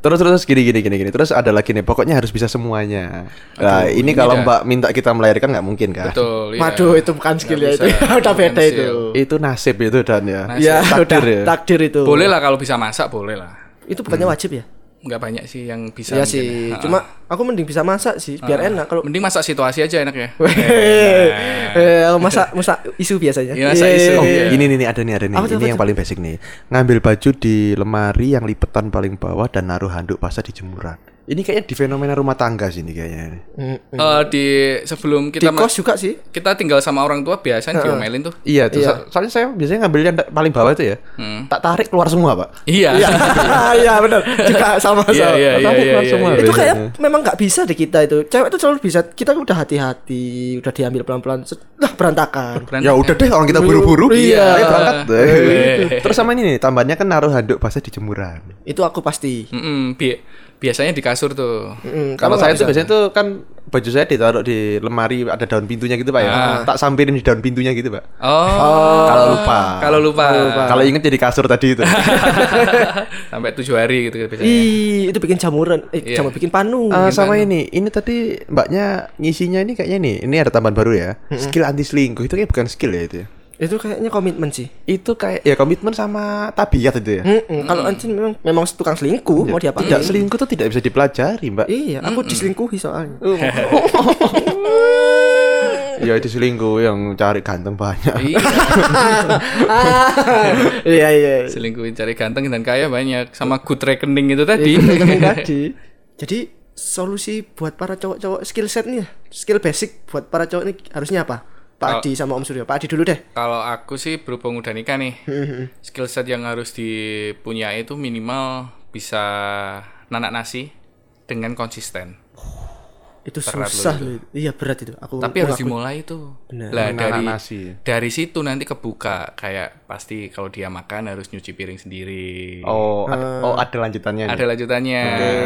Speaker 2: Terus terus gini gini gini gini. Terus ada lagi nih. Pokoknya harus bisa semuanya. Nah, ini
Speaker 3: ini dah.
Speaker 2: kalau Mbak minta kita melahirkan nggak mungkin kan?
Speaker 3: betul iya.
Speaker 1: Waduh, itu bukan skill
Speaker 3: Nggak
Speaker 1: ya itu.
Speaker 3: bisa.
Speaker 1: Udah beda
Speaker 3: Bukan
Speaker 1: itu.
Speaker 2: Itu nasib itu dan ya.
Speaker 1: Ya,
Speaker 2: Takdir
Speaker 1: udah
Speaker 2: ya.
Speaker 1: takdir itu.
Speaker 3: boleh lah kalau bisa masak boleh lah
Speaker 1: Itu bukannya wajib ya?
Speaker 3: nggak banyak sih yang bisa
Speaker 1: Iya
Speaker 3: mungkin
Speaker 1: sih.
Speaker 3: ya. Ha-ha.
Speaker 1: Cuma aku mending bisa masak sih, biar enak kalau
Speaker 3: Mending masak situasi aja enak ya.
Speaker 1: eh aku masak masak isu biasanya.
Speaker 3: Iya, masak isu.
Speaker 2: Oh,
Speaker 3: Iya.
Speaker 2: ini nih nih, ada nih ada nih.
Speaker 1: Apa tuh,
Speaker 2: ini
Speaker 1: apa
Speaker 2: yang
Speaker 1: tuh?
Speaker 2: paling basic nih. Ngambil baju di lemari yang lipetan paling bawah dan naruh handuk basah di jemuran. Ini kayaknya di fenomena rumah tangga sih ini kayaknya.
Speaker 3: Eh, di sebelum
Speaker 1: Di
Speaker 3: kita ma-
Speaker 1: kos juga sih.
Speaker 3: kita tinggal sama orang tua biasanya diomelin tuh.
Speaker 2: Iya, tuh, so- soalnya saya biasanya ngambil yang da- paling bawah itu ya.
Speaker 3: Hmm.
Speaker 2: Tak tarik keluar semua, Pak.
Speaker 3: Iya.
Speaker 1: Iya, iya benar. Juga
Speaker 3: Iya,
Speaker 1: sama sama.
Speaker 3: iya, iya,
Speaker 2: Tarik
Speaker 3: iya,
Speaker 2: keluar
Speaker 3: iya,
Speaker 2: semua
Speaker 3: iya.
Speaker 1: Itu
Speaker 2: biasanya.
Speaker 1: kayak memang nggak bisa deh kita itu. Cewek itu selalu bisa. Kita udah hati-hati, udah diambil pelan-pelan. Set- Lah berantakan.
Speaker 3: Berantakan.
Speaker 2: Ya udah deh orang kita buru-buru.
Speaker 1: Iya.
Speaker 2: Ayo berangkat.
Speaker 3: Iya.
Speaker 2: Terus sama ini nih, tambahnya kan naruh handuk basah di jemuran.
Speaker 1: Itu aku pasti.
Speaker 3: Iya. Mm-mm, bi- biasanya di kasur tuh.
Speaker 1: Mm, kamu
Speaker 2: Kalau
Speaker 1: nggak
Speaker 2: saya tuh
Speaker 1: bisa.
Speaker 2: biasanya tuh kan baju saya ditaruh di lemari ada daun pintunya gitu pak ya. Tak sampirin di daun pintunya gitu pak.
Speaker 3: Oh,
Speaker 2: Kalau lupa.
Speaker 3: kalau lupa.
Speaker 2: Kalau inget jadi kasur tadi itu.
Speaker 3: Sampai tujuh hari gitu biasanya.
Speaker 1: Ih, itu bikin jamuran, eh,
Speaker 3: Iya.
Speaker 1: jamur bikin panu.
Speaker 2: Eh, sama ini, ini tadi mbaknya ngisinya ini kayaknya nih, ini ada tambahan baru ya. Skill anti selingkuh itu kayak bukan skill ya itu. ya?
Speaker 1: Itu kayaknya komitmen sih.
Speaker 2: Itu kayak ya komitmen sama tabiat itu ya.
Speaker 1: Mm-mm, Kalau Ancin memang memang tukang selingkuh, mau diapain?
Speaker 2: Tidak selingkuh itu tidak bisa dipelajari mbak.
Speaker 1: Iya, aku diselingkuhi soalnya.
Speaker 2: Ya itu selingkuh yang cari ganteng banyak.
Speaker 3: Iya,
Speaker 1: iya iya.
Speaker 3: selingkuhin cari ganteng dan kaya banyak sama good reckoning itu tadi.
Speaker 1: Iya, tadi. Jadi solusi buat para cowok-cowok skill set nih, skill basic buat para cowok ini harusnya apa? Pak Adi sama Om Suryo. Pak Adi dulu deh.
Speaker 3: Kalau aku sih berhubung udah nikah nih,
Speaker 2: Hmm.
Speaker 3: skill set yang harus dipunyai itu minimal bisa nanak nasi dengan konsisten.
Speaker 1: Itu susah loh. Iya berat itu.
Speaker 2: Oh,
Speaker 1: Aku
Speaker 3: Tapi harus dimulai itu. Lah dari dari situ nanti kebuka kayak pasti kalau dia makan harus nyuci piring sendiri.
Speaker 2: Oh, ad-
Speaker 1: Hmm.
Speaker 2: oh ada lanjutannya. nih.
Speaker 3: Iya. Ada lanjutannya.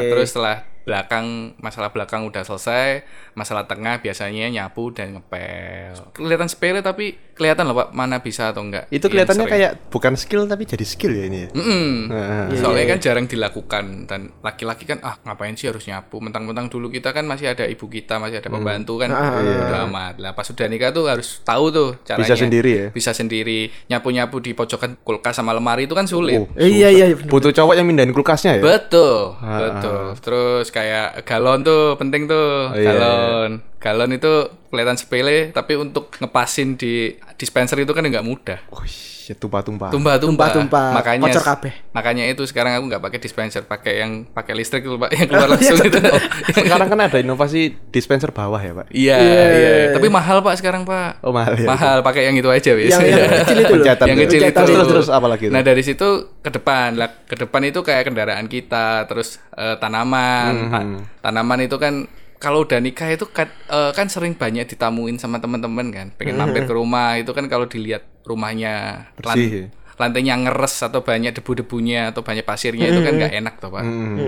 Speaker 3: Terus setelah belakang masalah belakang udah selesai, masalah tengah biasanya nyapu dan ngepel. Kelihatan sepele tapi kelihatan loh Pak mana bisa atau enggak.
Speaker 2: Itu kelihatannya kayak bukan skill tapi jadi skill ya ini. ya?
Speaker 3: Iya, Mm-mm.
Speaker 2: Nah,
Speaker 3: Soalnya kan jarang dilakukan dan laki-laki kan ah ngapain sih harus nyapu mentang-mentang dulu kita kan masih ada ibu kita masih
Speaker 2: Hmm.
Speaker 3: ada pembantu kan udah amat lah pas sudah nikah tuh harus tahu tuh caranya
Speaker 2: Ah, Bisa sendiri ya?
Speaker 3: bisa sendiri nyapu-nyapu di pojokan kulkas sama lemari itu kan
Speaker 2: Oh,
Speaker 3: sulit
Speaker 1: Eh, iya iya iya, bener.
Speaker 2: Butuh cowok yang mindahin kulkasnya ya.
Speaker 3: betul betul terus kayak galon tuh penting tuh
Speaker 2: ah. iya,
Speaker 3: galon galon itu kelihatan sepele tapi untuk ngepasin di dispenser itu kan nggak mudah
Speaker 2: Wih, Oh, tumpah-tumpah.
Speaker 3: tumpah-tumpah
Speaker 1: Tumpah-tumpah,
Speaker 3: makanya
Speaker 1: kocor kabeh.
Speaker 3: makanya itu sekarang aku nggak pakai dispenser pakai yang pakai listrik itu pak yang keluar langsung itu
Speaker 2: Sekarang kan ada inovasi dispenser bawah ya, Pak.
Speaker 3: iya iya tapi mahal pak sekarang pak
Speaker 2: Oh, mahal ya.
Speaker 3: mahal pakai yang itu aja biasanya
Speaker 1: yang kecil itu loh.
Speaker 2: Pencetan
Speaker 3: yang
Speaker 2: ya.
Speaker 3: kecil itu.
Speaker 2: Pencetan. Terus terus apa lagi itu?
Speaker 3: Nah, dari situ ke depan. Lah, ke depan itu kayak kendaraan kita, terus eh, tanaman.
Speaker 2: Hmm,
Speaker 3: Ta- Tanaman itu kan kalau udah nikah itu kan, eh, kan sering banyak ditamuin sama teman-teman kan. Pengen mampir ke rumah, itu kan kalau dilihat rumahnya lan-
Speaker 2: Hmm. Bersih. ya.
Speaker 3: lantainya ngeres atau banyak debu-debunya atau banyak pasirnya itu kan nggak enak tuh, Pak.
Speaker 2: Hmm.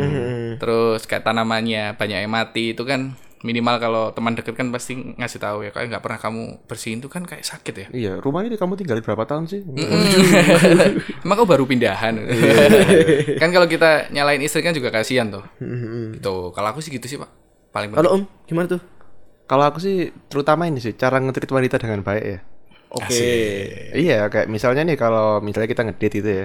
Speaker 3: Terus kayak tanamannya banyak yang mati itu kan minimal kalau teman deket kan pasti ngasih tahu ya kayak nggak pernah kamu bersihin tuh kan kayak sakit ya
Speaker 2: Iya, rumah ini kamu tinggalin berapa tahun sih?
Speaker 3: Emang kau baru pindahan. kan kalau kita nyalain istri kan juga kasihan tuh. Gitu. Kalau aku sih gitu sih, Pak. Paling penting.
Speaker 1: Kalau Om gimana tuh?
Speaker 2: Kalau aku sih terutama ini sih cara ngetrit wanita dengan baik ya.
Speaker 1: Oke.
Speaker 2: Iya, kayak misalnya nih kalau misalnya kita ngedit itu ya.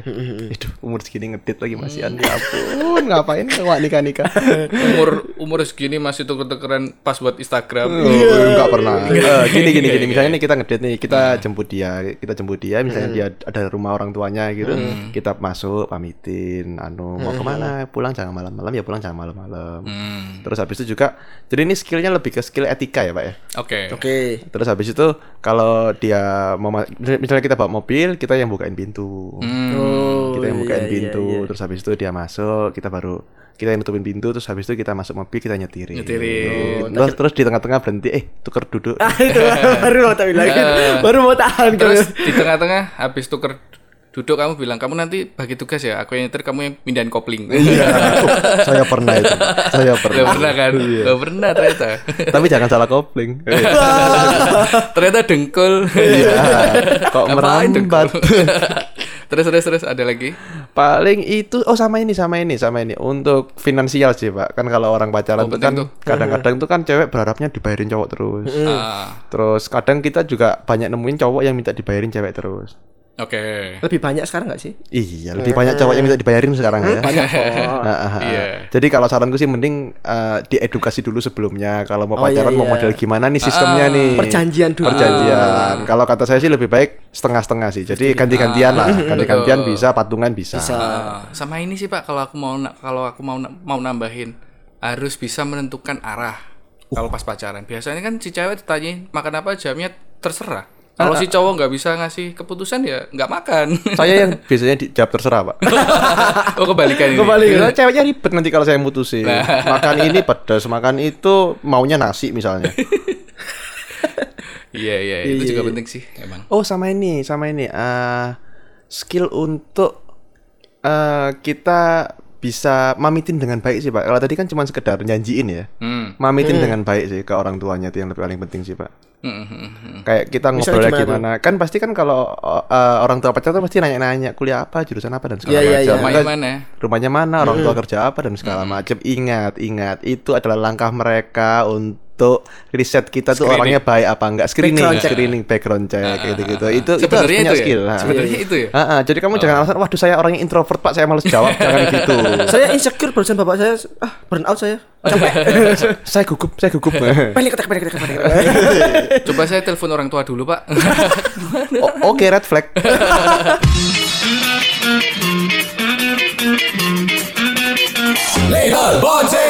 Speaker 2: Itu umur segini ngedit lagi
Speaker 3: Mm.
Speaker 2: masihan ya ampun, ngapain kalau nikah-nikah?
Speaker 3: umur umur segini masih tuker-tukeran pas buat Instagram.
Speaker 2: Enggak Oh, pernah. Eh, gini gini gini, misalnya nih kita ngedit nih, kita jemput dia, kita jemput dia, misalnya dia ada rumah orang tuanya gitu, kita masuk pamitin, anu mau kemana? Pulang jangan malam-malam ya, pulang jangan malam-malam.
Speaker 3: Hmm.
Speaker 2: Terus habis itu juga, jadi ini skillnya lebih ke skill etika ya pak ya.
Speaker 3: Oke.
Speaker 1: Oke.
Speaker 2: Terus habis itu kalau dia mau ma- misalnya kita bawa mobil, kita yang bukain pintu. kita yang bukain pintu, terus habis itu dia masuk, kita baru kita yang nutupin pintu, terus habis itu kita masuk mobil, kita nyetirin.
Speaker 3: Nyetirin.
Speaker 2: Oh, Terus, terus di tengah-tengah berhenti, eh tuker duduk.
Speaker 1: Ah, itu baru mau tak bilangin. Baru mau tahan
Speaker 3: Terus
Speaker 1: terus.
Speaker 3: di tengah-tengah habis tuker duduk kamu bilang kamu nanti bagi tugas ya, aku yang nyetir, kamu yang pindahin kopling. Iya.
Speaker 2: Ya, saya pernah itu. Saya
Speaker 3: Udah
Speaker 2: pernah.
Speaker 3: pernah kan? Udah pernah ternyata.
Speaker 2: Tapi jangan salah kopling.
Speaker 3: ternyata dengkul.
Speaker 2: Iya. Kok
Speaker 3: Ngapain
Speaker 2: merambat.
Speaker 3: dengkul? terus terus terus ada lagi.
Speaker 2: Paling itu oh sama ini sama ini sama ini untuk finansial sih, Pak. Kan kalau orang
Speaker 3: Oh,
Speaker 2: pacaran tuh Hmm. kan
Speaker 3: penting
Speaker 2: kadang-kadang tuh kan cewek berharapnya dibayarin cowok terus.
Speaker 3: Ah,
Speaker 2: Terus kadang kita juga banyak nemuin cowok yang minta dibayarin cewek terus.
Speaker 3: Oke.
Speaker 1: Lebih banyak sekarang nggak sih?
Speaker 2: Iya, lebih banyak cowok yang minta dibayarin sekarang ya. Ah, ah, ah.
Speaker 3: Iya.
Speaker 2: Jadi kalau saranku sih mending eh, diedukasi dulu sebelumnya kalau mau
Speaker 1: Oh, iya,
Speaker 2: pacaran mau
Speaker 1: iya.
Speaker 2: model gimana
Speaker 3: Ah,
Speaker 2: nih sistemnya nih.
Speaker 1: Perjanjian dulu.
Speaker 2: Perjanjian. Kalau kata saya sih lebih baik setengah-setengah sih. Jadi ganti-gantian lah. Ganti-gantian bisa, patungan bisa.
Speaker 3: Ah, sama ini sih Pak kalau aku mau na- kalau aku mau na- mau nambahin harus bisa menentukan arah kalau pas pacaran. Biasanya kan si cewek ditanyain makan apa jamnya terserah.
Speaker 2: Ah,
Speaker 3: Kalau si cowok nggak bisa ngasih keputusan ya nggak makan.
Speaker 2: Saya yang biasanya dijawab terserah, Pak.
Speaker 3: oh kebalikan ini.
Speaker 2: Biasanya ceweknya ribet nanti kalau saya mutusin.
Speaker 3: Nah.
Speaker 2: Makan ini pedas, makan itu maunya nasi misalnya.
Speaker 3: Iya iya itu juga penting sih emang.
Speaker 2: Oh sama ini, sama ini. eh skill untuk eh kita bisa mamitin dengan baik sih pak. Kalau tadi kan cuma sekedar nyanjiin ya.
Speaker 3: Hmm.
Speaker 2: Mamitin dengan baik sih ke orang tuanya itu yang lebih paling penting sih pak.
Speaker 3: Hmm, hmm, hmm.
Speaker 2: Kayak kita
Speaker 1: Misalnya
Speaker 2: ngobrolnya
Speaker 1: gimana
Speaker 2: gimana, kan pasti kan kalau eh, orang tua pacar tuh pasti nanya-nanya kuliah apa, jurusan apa dan segala
Speaker 1: Iya, iya,
Speaker 2: macam.
Speaker 1: iya.
Speaker 3: Rumahnya
Speaker 2: Kan
Speaker 3: mana? ya?
Speaker 2: rumahnya mana, orang
Speaker 3: Iya.
Speaker 2: tua kerja apa dan segala macam. Ingat, ingat itu adalah langkah mereka untuk riset kita tuh
Speaker 3: Screening. Ah,
Speaker 2: orangnya baik apa enggak, screening,
Speaker 1: Background check.
Speaker 2: screening, background check gitu-gitu. Itu itu harus
Speaker 3: Sebenarnya
Speaker 2: punya
Speaker 3: itu ya.
Speaker 2: skill. ha.
Speaker 3: Sebenarnya itu ya.
Speaker 2: Ha, ha. jadi kamu jangan alasan, waduh saya orangnya introvert pak, saya males jawab, jangan gitu.
Speaker 1: saya insecure barusan bapak saya ah burn out saya
Speaker 2: saya gugup, saya gugup.
Speaker 1: pelik ketek pelik ketek pelik ketek.
Speaker 3: Coba saya telepon orang tua dulu, Pak.
Speaker 2: O- Oke, red flag.
Speaker 5: Legal Bonce!